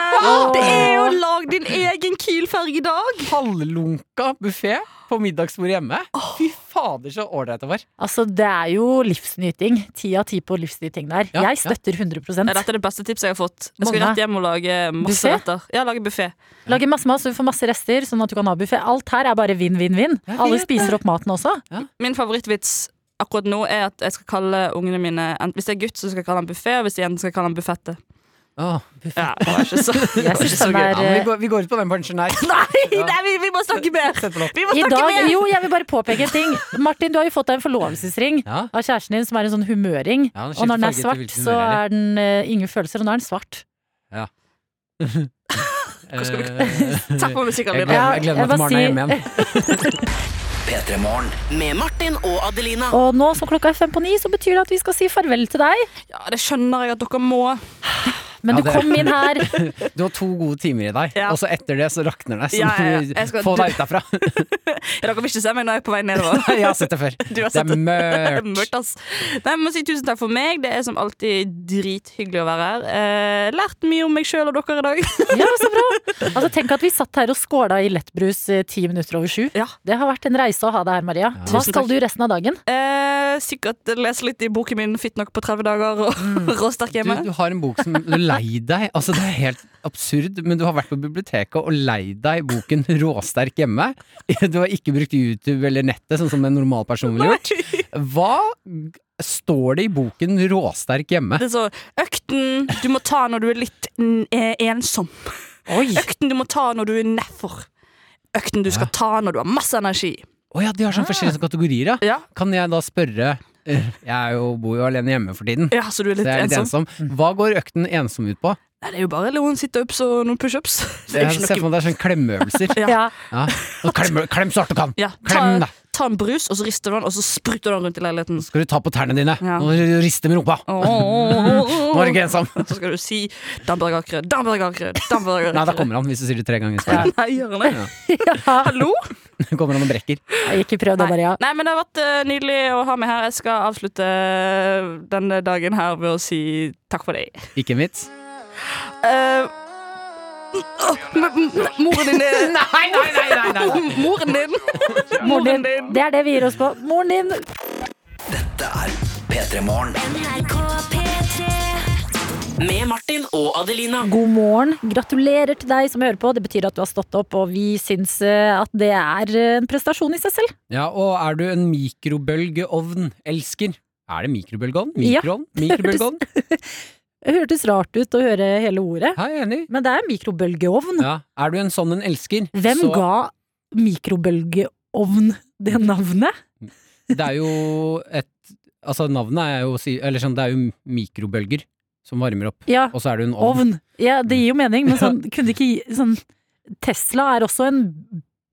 Speaker 8: Det er jo lag din egen Kiel-ferge i dag.
Speaker 3: Halvlunka buffé på middagsbordet hjemme. Fy fader, så ålreit det var.
Speaker 2: Altså, det er jo livsnyting. Ti av ti på livsnyting der.
Speaker 3: Ja,
Speaker 2: jeg støtter 100
Speaker 8: Ja, Dette er det beste tipset jeg har fått. Jeg skal
Speaker 2: Mange.
Speaker 8: rett hjem og lage masse
Speaker 2: Buffet?
Speaker 8: retter. Ja, lage buffé.
Speaker 2: Lager masse mat, så du får masse rester, sånn at du kan ha buffé. Alt her er bare vinn-vinn-vinn.
Speaker 3: Jeg
Speaker 2: Alle
Speaker 3: vet
Speaker 2: spiser opp maten også.
Speaker 8: Min favorittvits akkurat nå er at jeg skal kalle ungene mine en- Hvis det er gutt, så skal jeg kalle han buffé, og hvis det er jente, skal jeg kalle han buffette.
Speaker 3: Åh,
Speaker 8: Ja, det var ikke så, det var
Speaker 2: synes
Speaker 8: ikke så
Speaker 2: den er-
Speaker 8: gøy.
Speaker 3: Ja, men vi, går, vi går ut på den punchen her.
Speaker 8: eh, Nei, nei, vi, vi må snakke mer!
Speaker 3: Sett på låt.
Speaker 8: Vi må
Speaker 2: I
Speaker 8: snakke
Speaker 2: dag,
Speaker 8: mer!
Speaker 2: jo, jeg vil bare påpeke en ting. Martin, du har jo fått deg en forlovelsesring
Speaker 3: Ja.
Speaker 2: av kjæresten din, som er en sånn humøring.
Speaker 3: Ja, den skifter
Speaker 2: og når den er
Speaker 3: farge til
Speaker 2: svart,
Speaker 3: hvilken
Speaker 2: så
Speaker 3: humør jeg
Speaker 2: er den eh, ingen følelser, og nå er den svart.
Speaker 3: Hvor
Speaker 8: skal vi-
Speaker 3: Takk
Speaker 8: Takk for musikken
Speaker 3: Jeg
Speaker 8: min.
Speaker 3: gleder, jeg gleder
Speaker 2: Ja, jeg
Speaker 3: Eh,
Speaker 2: bare
Speaker 3: meg til Marna er hjemme
Speaker 2: sier-
Speaker 3: igjen.
Speaker 4: P3-morgen.
Speaker 5: Med Martin og Adelina.
Speaker 2: Og nå som klokka er fem på ni, så betyr det at vi skal si farvel til deg.
Speaker 8: Ja, det skjønner jeg at dere må.
Speaker 2: Men
Speaker 3: Ja,
Speaker 2: du
Speaker 3: det-
Speaker 2: kom inn her.
Speaker 3: Du har to gode timer i deg,
Speaker 8: Ja.
Speaker 3: og så etter det så rakner det. Så
Speaker 8: Ja, ja,
Speaker 3: må
Speaker 8: ja.
Speaker 3: du
Speaker 8: Jeg skal-
Speaker 3: få
Speaker 8: du-
Speaker 3: deg ut derfra.
Speaker 8: Dere vil ikke se meg når jeg er på vei nedover.
Speaker 3: Jeg har sett det før.
Speaker 8: Du har
Speaker 3: Det
Speaker 8: sett
Speaker 3: er
Speaker 8: det.
Speaker 3: mørkt.
Speaker 8: Mørkt, ass. Nei, jeg må si tusen takk for meg. Det er som alltid drithyggelig å være her. Eh, lært mye om meg sjøl og dere i dag.
Speaker 2: Ja, så bra. Altså, tenk at vi satt her og skåla i lettbrus eh, ti minutter over sju.
Speaker 8: Ja.
Speaker 2: Det har vært en reise å ha deg her, Maria. Hva
Speaker 8: Tusen
Speaker 2: skal
Speaker 8: takk.
Speaker 2: du resten av dagen?
Speaker 8: Eh, sikkert lese litt i boken min 'Fitt nok på 30 dager' og
Speaker 3: Mm.
Speaker 8: 'Råsterk
Speaker 3: Du,
Speaker 8: hjemme'.
Speaker 3: du har en bok som du lei deg Altså Det er helt absurd, men du har vært på biblioteket og lei deg boken Råsterk hjemme. Du har ikke brukt YouTube eller nettet, sånn som en normal person ville gjort. Hva g- står det i boken Råsterk hjemme?
Speaker 8: Det er så, Økten du må ta når du er litt mm, eh, ensom.
Speaker 2: Oi.
Speaker 8: Økten du må ta når du er nedfor. Økten du skal ta når du har masse energi.
Speaker 3: Å ja, de har
Speaker 8: Ah.
Speaker 3: sånne forskjellige sånne kategorier, ja.
Speaker 8: Ja,
Speaker 3: Kan jeg da spørre eh, Jeg er jo, bor jo alene hjemme for tiden.
Speaker 8: ja så du er litt,
Speaker 3: Så jeg er litt
Speaker 8: ensom.
Speaker 3: ensom. Hva går økten ensom ut på?
Speaker 8: Nei, det er jo bare noen sit-ups og noen pushups. Det er
Speaker 3: Jeg
Speaker 8: jo
Speaker 3: ser
Speaker 8: ikke
Speaker 3: for
Speaker 8: noe
Speaker 3: meg det er sånn klemmeøvelser.
Speaker 8: Ja.
Speaker 2: Ja.
Speaker 3: Ja. Og Klem, klem så hardt du kan!
Speaker 8: ja,
Speaker 3: Klem, da!
Speaker 8: ta, ta en brus, og så rister du den, og så spruter du den rundt i leiligheten.
Speaker 3: Skal du ta på tærne dine
Speaker 8: Ja.
Speaker 3: og riste med rumpa? Nå er du ikke ensom!
Speaker 8: Så skal du si 'Dambergerkrød, Dambergerkrød, Dambergerkrød'.
Speaker 3: Nei, da kommer han hvis du sier det tre ganger. Skal.
Speaker 8: Nei, gjør han det?
Speaker 2: Ja.
Speaker 8: Hallo?
Speaker 3: Kommer han og brekker.
Speaker 2: Ikke prøv det,
Speaker 8: Nei.
Speaker 2: Maria.
Speaker 8: Nei, men det har vært eh, nydelig å ha meg her. Jeg skal avslutte eh, denne dagen her ved å si takk for deg.
Speaker 3: Ikke en vits.
Speaker 8: Eh, åh, m- m- moren din er Nei, nei, nei! Moren din.
Speaker 2: Moren din. Det er det vi gir oss på. Moren din.
Speaker 4: Dette er P3-morgen.
Speaker 5: Med Martin og Adelina.
Speaker 2: God morgen. Gratulerer til deg som hører på. Det betyr at du har stått opp, og vi syns eh, at det er en prestasjon i seg selv.
Speaker 3: Ja, og er du en mikrobølgeovn-elsker? Er det mikrobølgeovn?
Speaker 2: Ja.
Speaker 3: Mikroovn? Mikrobølgeovn?
Speaker 2: Det hørtes rart ut å høre hele ordet,
Speaker 3: Ja, jeg er enig.
Speaker 2: men det er mikrobølgeovn.
Speaker 3: Ja. Er du en sånn en elsker,
Speaker 2: Hvem
Speaker 3: så
Speaker 2: ga mikrobølgeovn det navnet?
Speaker 3: Det er jo et Altså, navnet er jo si- Eller sånn, det er jo mikrobølger som varmer opp,
Speaker 2: Ja,
Speaker 3: og så er det en ovn.
Speaker 2: ovn. Ja, det gir jo mening, men sånn kunne ikke gi sånn Tesla er også en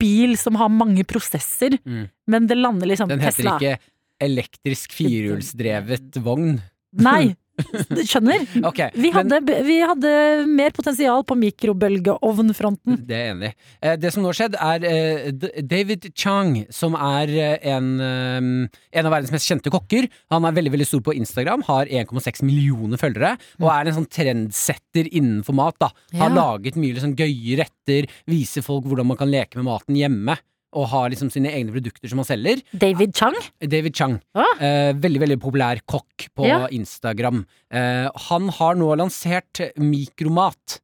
Speaker 2: bil som har mange prosesser,
Speaker 3: Mm.
Speaker 2: men det lander liksom
Speaker 3: Den heter
Speaker 2: Tesla.
Speaker 3: ikke elektrisk firehjulsdrevet vogn.
Speaker 2: Nei! Skjønner?
Speaker 3: Ok,
Speaker 2: Vi
Speaker 3: men-
Speaker 2: hadde, vi hadde mer potensial på mikrobølgeovnfronten.
Speaker 3: Det er jeg enig. i. Eh, Det som nå har skjedd, er eh, D- David Chang, som er eh, en, eh, en av verdens mest kjente kokker. Han er veldig veldig stor på Instagram, har 1,6 millioner følgere, og er en sånn trendsetter innenfor mat. da Har
Speaker 2: Ja.
Speaker 3: laget mye liksom, gøye retter, viser folk hvordan man kan leke med maten hjemme. og har liksom sine egne produkter som han selger.
Speaker 2: David Chang?
Speaker 3: David Chang. Eh, veldig veldig populær kokk på
Speaker 2: Ja.
Speaker 3: Instagram. Eh, han har nå lansert mikromat.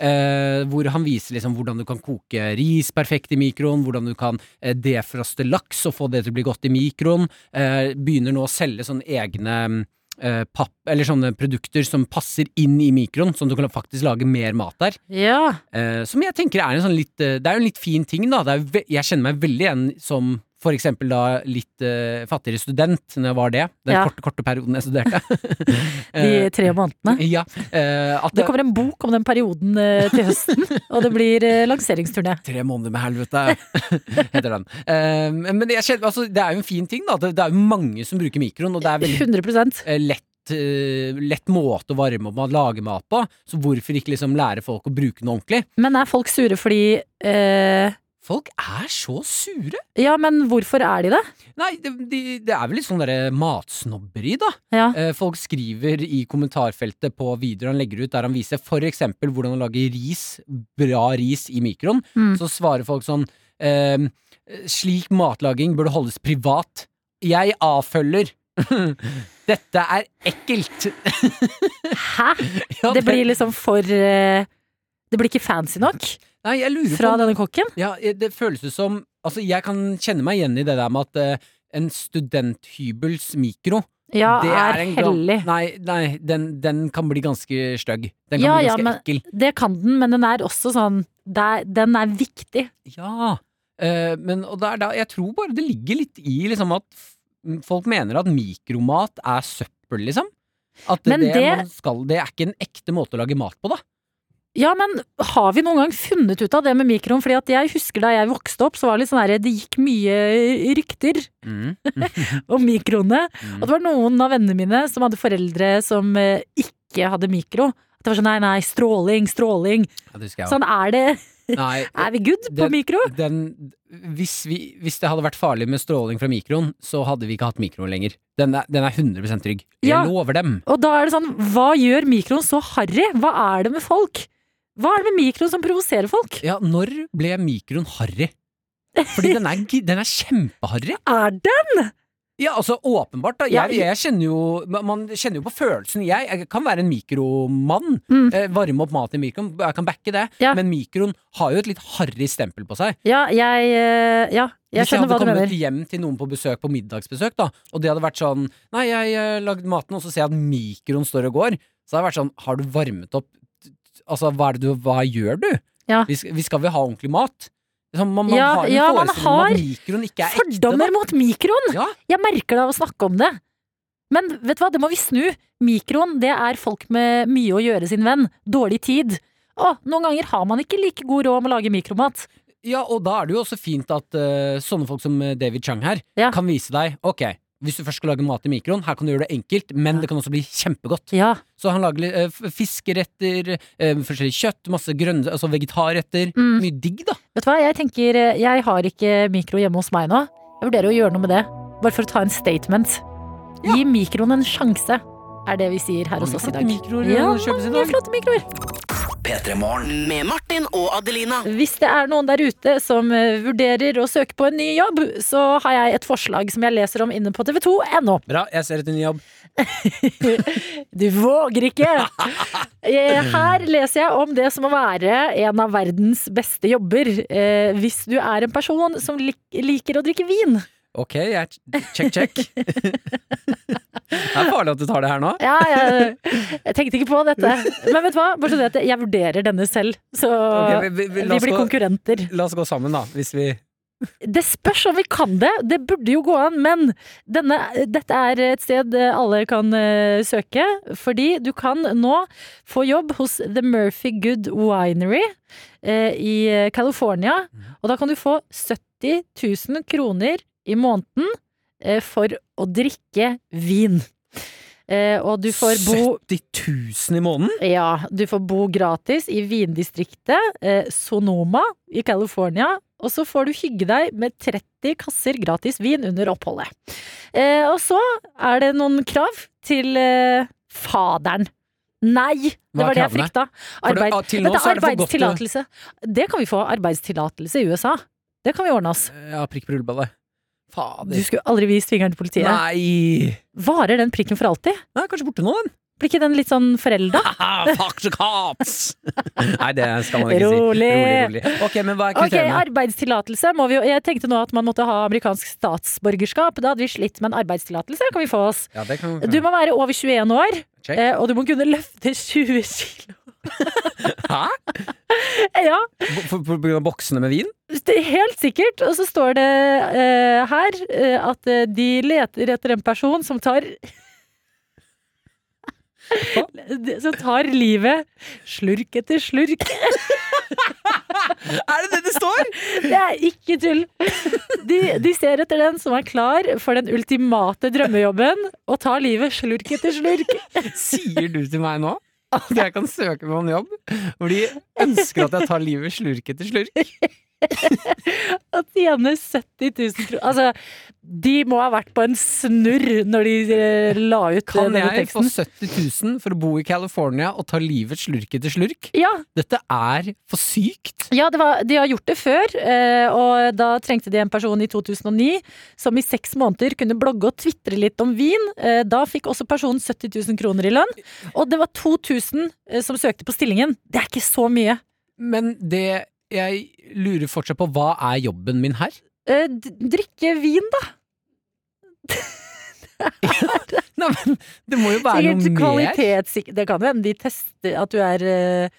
Speaker 3: Eh, hvor han viser liksom hvordan du kan koke ris perfekt i mikroen, hvordan du kan eh, defroste laks og få det til å bli godt i mikroen. Eh, begynner nå å selge sånne egne eh, papp, eller sånne produkter som passer inn i mikroen, sånn at du kan faktisk lage mer mat der.
Speaker 2: Ja.
Speaker 3: Eh, som jeg tenker er en sånn litt eh, Det er jo en litt fin ting, da. Det er, ve- jeg kjenner meg veldig igjen som for eksempel da litt eh, fattigere student, når jeg var det. Den
Speaker 2: Ja.
Speaker 3: korte, korte perioden jeg studerte. Eh,
Speaker 2: De tre månedene.
Speaker 3: ja. eh, at
Speaker 2: Det kommer en bok om den perioden eh, til høsten, og det blir eh, lanseringsturné.
Speaker 3: Tre måneder med helvete, heter den. Eh, men jeg kjenner, altså, det er jo en fin ting, da. Det, det er jo mange som bruker mikroen, og det er veldig
Speaker 2: 100
Speaker 3: eh, lett eh, lett måte å varme opp og lage mat på, så hvorfor ikke liksom lære folk å bruke den ordentlig?
Speaker 2: Men er folk sure fordi eh,
Speaker 3: Folk er så sure!
Speaker 2: Ja, men hvorfor er de det?
Speaker 3: Nei, det, de, det er vel litt sånn derre matsnobberi, da. Eh, folk skriver i kommentarfeltet på videoer han legger ut, der han viser for eksempel hvordan han lager ris, bra ris, i mikroen.
Speaker 12: Mm.
Speaker 3: Så svarer folk sånn ehm, Slik matlaging burde holdes privat. Jeg avfølger. Dette er ekkelt.
Speaker 2: Hæ?
Speaker 3: Ja,
Speaker 2: det
Speaker 3: det-
Speaker 2: blir liksom for eh, Det blir ikke fancy nok?
Speaker 3: Nei, jeg lurer
Speaker 2: Fra
Speaker 3: på-
Speaker 2: denne kokken?
Speaker 3: Ja, eh, det føles ut som Altså, jeg kan kjenne meg igjen i det der med at eh, en studenthybels mikro
Speaker 2: Ja,
Speaker 3: det
Speaker 2: er
Speaker 3: en gam-
Speaker 2: hellig.
Speaker 3: Nei, nei den, den kan bli ganske stygg. Den kan
Speaker 2: ja,
Speaker 3: bli
Speaker 2: ja,
Speaker 3: ganske
Speaker 2: men
Speaker 3: ekkel.
Speaker 2: det kan den, men den er også sånn der, Den er viktig.
Speaker 3: Ja, eh, men og det er da, jeg tror bare det ligger litt i liksom at f- folk mener at mikromat er søppel, liksom. At det,
Speaker 2: Men det-
Speaker 3: man skal, det er ikke en ekte måte å lage mat på, da.
Speaker 2: Ja, men har vi noen gang funnet ut av det med mikroen? Fordi at jeg husker da jeg vokste opp, så var det litt sånn her Det gikk mye rykter
Speaker 3: Mm,
Speaker 2: om mikroene. Og det var noen av vennene mine som hadde foreldre som eh, ikke hadde mikro. At det var sånn nei, nei, stråling, stråling.
Speaker 3: Ja, det husker jeg
Speaker 2: Sånn er det.
Speaker 3: Nei,
Speaker 2: er vi good på
Speaker 3: den-
Speaker 2: mikro?
Speaker 3: Den, hvis, vi, hvis det hadde vært farlig med stråling fra mikroen, så hadde vi ikke hatt mikroen lenger. Den er, den er 100 trygg. Jeg
Speaker 2: Ja.
Speaker 3: lover dem.
Speaker 2: Og da er det sånn, hva gjør mikroen så harry? Hva er det med folk? Hva er det med mikroen som provoserer folk?
Speaker 3: Ja, når ble mikroen harry? Fordi den er, gi- den er kjempeharry.
Speaker 2: Er den?
Speaker 3: Ja, altså åpenbart, da.
Speaker 2: Ja,
Speaker 3: Jeg, jeg kjenner jo Man man kjenner jo på følelsen. Jeg, jeg kan være en mikromann.
Speaker 2: Mm.
Speaker 3: Eh, varme opp mat i mikroen, jeg kan backe det. Men mikroen har jo et litt harry stempel på seg.
Speaker 2: Ja, jeg, eh, ja, jeg
Speaker 3: Hvis jeg
Speaker 2: skjønner
Speaker 3: hadde
Speaker 2: hva du
Speaker 3: kommet
Speaker 2: mener.
Speaker 3: hjem til noen på besøk på middagsbesøk, da, og det hadde vært sånn Nei, jeg eh, lagde maten, og så ser jeg at mikroen står og går. Så hadde det vært sånn Har du varmet opp Altså, hva er det du Hva gjør du?
Speaker 2: Ja.
Speaker 3: Vi, skal, vi skal vel ha ordentlig mat? Liksom, man, man
Speaker 2: Ja,
Speaker 3: har en
Speaker 2: ja, man
Speaker 3: forestilling om
Speaker 2: har
Speaker 3: at mikroen ikke er ekte.
Speaker 2: Fordommer mot mikroen!
Speaker 3: Ja.
Speaker 2: Jeg merker det av å snakke om det. Men vet du hva, det må vi snu. Mikroen, det er folk med mye å gjøre sin venn. Dårlig tid. Å, noen ganger har man ikke like god råd om å lage mikromat.
Speaker 3: Ja, og da er det jo også fint at eh, sånne folk som eh, David Chang her kan vise deg Ok, hvis du først skal lage mat i mikroen, her kan du gjøre det enkelt, men det kan også bli kjempegodt. Så han lager eh, f- fiskeretter, eh, forskjellig kjøtt, masse grønne, altså vegetarretter.
Speaker 2: Mm.
Speaker 3: Mye digg, da.
Speaker 2: Vet du hva, jeg tenker eh, jeg har ikke mikro hjemme hos meg nå. Jeg vurderer å gjøre noe med det. Bare for å ta en statement. Gi mikroen en sjanse, er det vi sier her hos oss i dag.
Speaker 3: mikroer
Speaker 2: ja,
Speaker 3: kjøpes i
Speaker 2: mange
Speaker 3: dag.
Speaker 2: flotte mikroer.
Speaker 5: Med Martin og Adelina.
Speaker 2: Hvis det er noen der ute som eh, vurderer å søke på en ny jobb, så har jeg et forslag som jeg leser om inne på tv2.no.
Speaker 3: Bra, jeg ser etter en ny jobb.
Speaker 2: Du våger ikke! Eh, Her leser jeg om det som å være en av verdens beste jobber. eh, Hvis du er en person som lik liker å drikke vin.
Speaker 3: Ok, jeg check, check. det er farlig at du tar det her nå.
Speaker 2: Ja, jeg, jeg tenkte ikke på dette. Men vet du hva? Bare så du vet det, jeg vurderer denne selv. Så
Speaker 3: Ok,
Speaker 2: vi,
Speaker 3: la oss
Speaker 2: blir
Speaker 3: gå-
Speaker 2: konkurrenter.
Speaker 3: La oss gå sammen, da, hvis vi
Speaker 2: Det spørs om vi kan det. Det burde jo gå an. Men denne, dette er et sted alle kan eh, søke. Fordi du kan nå få jobb hos The Murphy Good Winery eh, i California. Og da kan du få 70 000 kroner i måneden eh, for å drikke vin. Eh, og du får bo
Speaker 3: 70 000 i måneden?
Speaker 2: ja, du får bo gratis i vindistriktet eh, Sonoma i California. Og så får du hygge deg med 30 kasser gratis vin under oppholdet. Eh, og så er det noen krav til eh, faderen. Nei! Det
Speaker 3: Hva er
Speaker 2: var det jeg
Speaker 3: kravene?
Speaker 2: frykta.
Speaker 3: For det- ah, til nå
Speaker 2: Vent da,
Speaker 3: så er det for godt å-
Speaker 2: arbeidstillatelse. Det kan vi få. Arbeidstillatelse i USA. Det kan vi ordne oss.
Speaker 3: Ja, prikk på rulleballet. Fader.
Speaker 2: Du skulle aldri vist fingeren til politiet.
Speaker 3: Nei!
Speaker 2: Varer den prikken for alltid?
Speaker 3: Nei, kanskje borte nå, den.
Speaker 2: Blir ikke den litt sånn forelda?
Speaker 3: Haha, Ah, fuck the cops! Nei, det skal man ikke
Speaker 2: Rolig.
Speaker 3: si. Rolig, rolig. Ok, men hva er
Speaker 2: Ok,
Speaker 3: kriteriene?
Speaker 2: arbeidstillatelse må vi jo Jeg tenkte nå at man måtte ha amerikansk statsborgerskap. Da hadde vi slitt med en arbeidstillatelse. kan vi få oss.
Speaker 3: ja, det kan
Speaker 2: Du må være over 21 år,
Speaker 3: Check.
Speaker 2: eh, og du må kunne løfte 20 kilo.
Speaker 3: Hæ?
Speaker 2: Ja,
Speaker 3: På- på- På grunn av boksene med vin?
Speaker 2: det er helt sikkert. Og så står det eh, her eh, at eh, de leter etter en person som tar Som tar livet slurk etter slurk.
Speaker 3: Er det det det står?
Speaker 2: Det er ikke tull. De, de ser etter den som er klar for den ultimate drømmejobben, og tar livet slurk etter slurk.
Speaker 3: Sier du til meg nå at jeg kan søke meg om jobb hvor de ønsker at jeg tar livet slurk etter slurk?
Speaker 2: Og tjener 70 000 kroner. Altså, de må ha vært på en snurr når de eh, la ut eh,
Speaker 3: Kan
Speaker 2: denne
Speaker 3: jeg få
Speaker 2: teksten.
Speaker 3: 70 000 for å bo i California og ta livet slurk etter slurk?
Speaker 2: Ja,
Speaker 3: Dette er for sykt!
Speaker 2: ja det var, de har gjort det før, eh, og da trengte de en person i 2009 som i seks måneder kunne blogge og tvitre litt om vin. Eh, Da fikk også personen 70 000 kroner i lønn, og det var 2000 eh, som søkte på stillingen. Det er ikke så mye.
Speaker 3: Men det jeg lurer fortsatt på, hva er jobben min her?
Speaker 2: Eh, d- drikke vin, da.
Speaker 3: Nei, men det må jo være
Speaker 2: Sikkert
Speaker 3: noe mer.
Speaker 2: kvalitetssik- Det kan jo hende de tester at du er eh,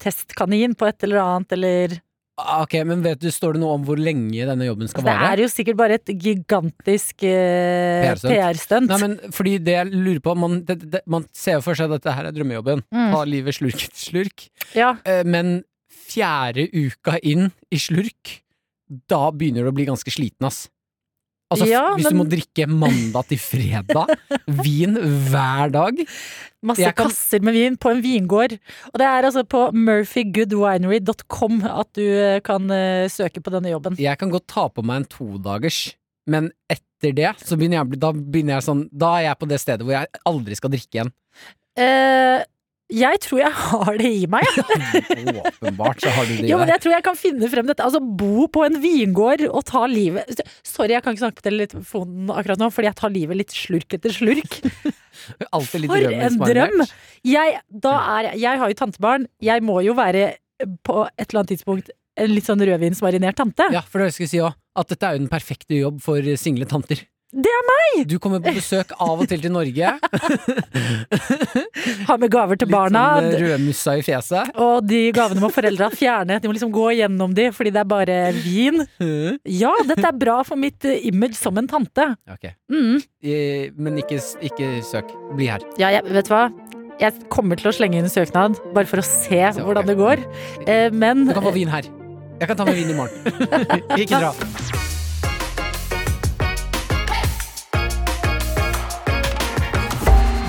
Speaker 2: testkanin på et eller annet, eller
Speaker 3: Ah, Ok, men vet du, Står det noe om hvor lenge denne jobben skal
Speaker 2: Altså, Det
Speaker 3: vare?
Speaker 2: er jo sikkert bare et gigantisk eh,
Speaker 3: PR-stunt.
Speaker 2: PR-stunt.
Speaker 3: Nei, men fordi det jeg lurer på Man, det, det, man ser jo for seg at dette her er drømmejobben.
Speaker 2: Mm.
Speaker 3: Ta livet slurk etter slurk.
Speaker 2: Ja.
Speaker 3: Eh, Men fjerde uka inn i slurk, da begynner du å bli ganske sliten, ass. Altså, f-
Speaker 2: Ja,
Speaker 3: Hvis du
Speaker 2: men-
Speaker 3: må drikke mandag til fredag, vin hver dag
Speaker 2: Masse
Speaker 3: jeg kan-
Speaker 2: kasser med vin på en vingård. Og det er altså på murphygoodwinery.com at du eh, kan eh, søke på denne jobben.
Speaker 3: Jeg kan godt ta på meg en todagers, men etter det så begynner jeg, å bli- da begynner jeg sånn Da er jeg på det stedet hvor jeg aldri skal drikke igjen.
Speaker 2: Eh, jeg tror jeg har det i meg, jeg.
Speaker 3: Åpenbart så har du det i
Speaker 2: Jo, men
Speaker 3: deg.
Speaker 2: jeg tror jeg kan finne frem dette. Altså, bo på en vingård og ta livet Sorry, jeg kan ikke snakke på telefonen akkurat nå, fordi jeg tar livet litt slurk etter slurk.
Speaker 3: Alltid litt
Speaker 2: For en
Speaker 3: rømmingsmarinert.
Speaker 2: drøm! Jeg, da er, jeg har jo tantebarn. Jeg må jo være eh, på et eller annet tidspunkt en litt sånn rødvinsmarinert tante.
Speaker 3: Ja, for det skal jeg si også, at dette er jo den perfekte jobb for single tanter.
Speaker 2: Det er
Speaker 3: meg! Du kommer på besøk av og til til Norge.
Speaker 2: Ha med gaver til barna.
Speaker 3: Sånn eh, rødmussa i fjeset.
Speaker 2: Og de gavene må foreldra fjerne. De må liksom gå gjennom de, fordi det er bare vin. Ja, dette er bra for mitt eh, image som en tante.
Speaker 3: Ok.
Speaker 2: Mm.
Speaker 3: Eh, Men ikke, s- ikke søk. Bli her.
Speaker 2: Ja, jeg, vet du hva? Jeg kommer til å slenge inn søknad, bare for å se
Speaker 3: Så, ok.
Speaker 2: hvordan det går. Eh, Men
Speaker 3: Du kan få vin her. Jeg kan ta med vin i morgen. ikke dra.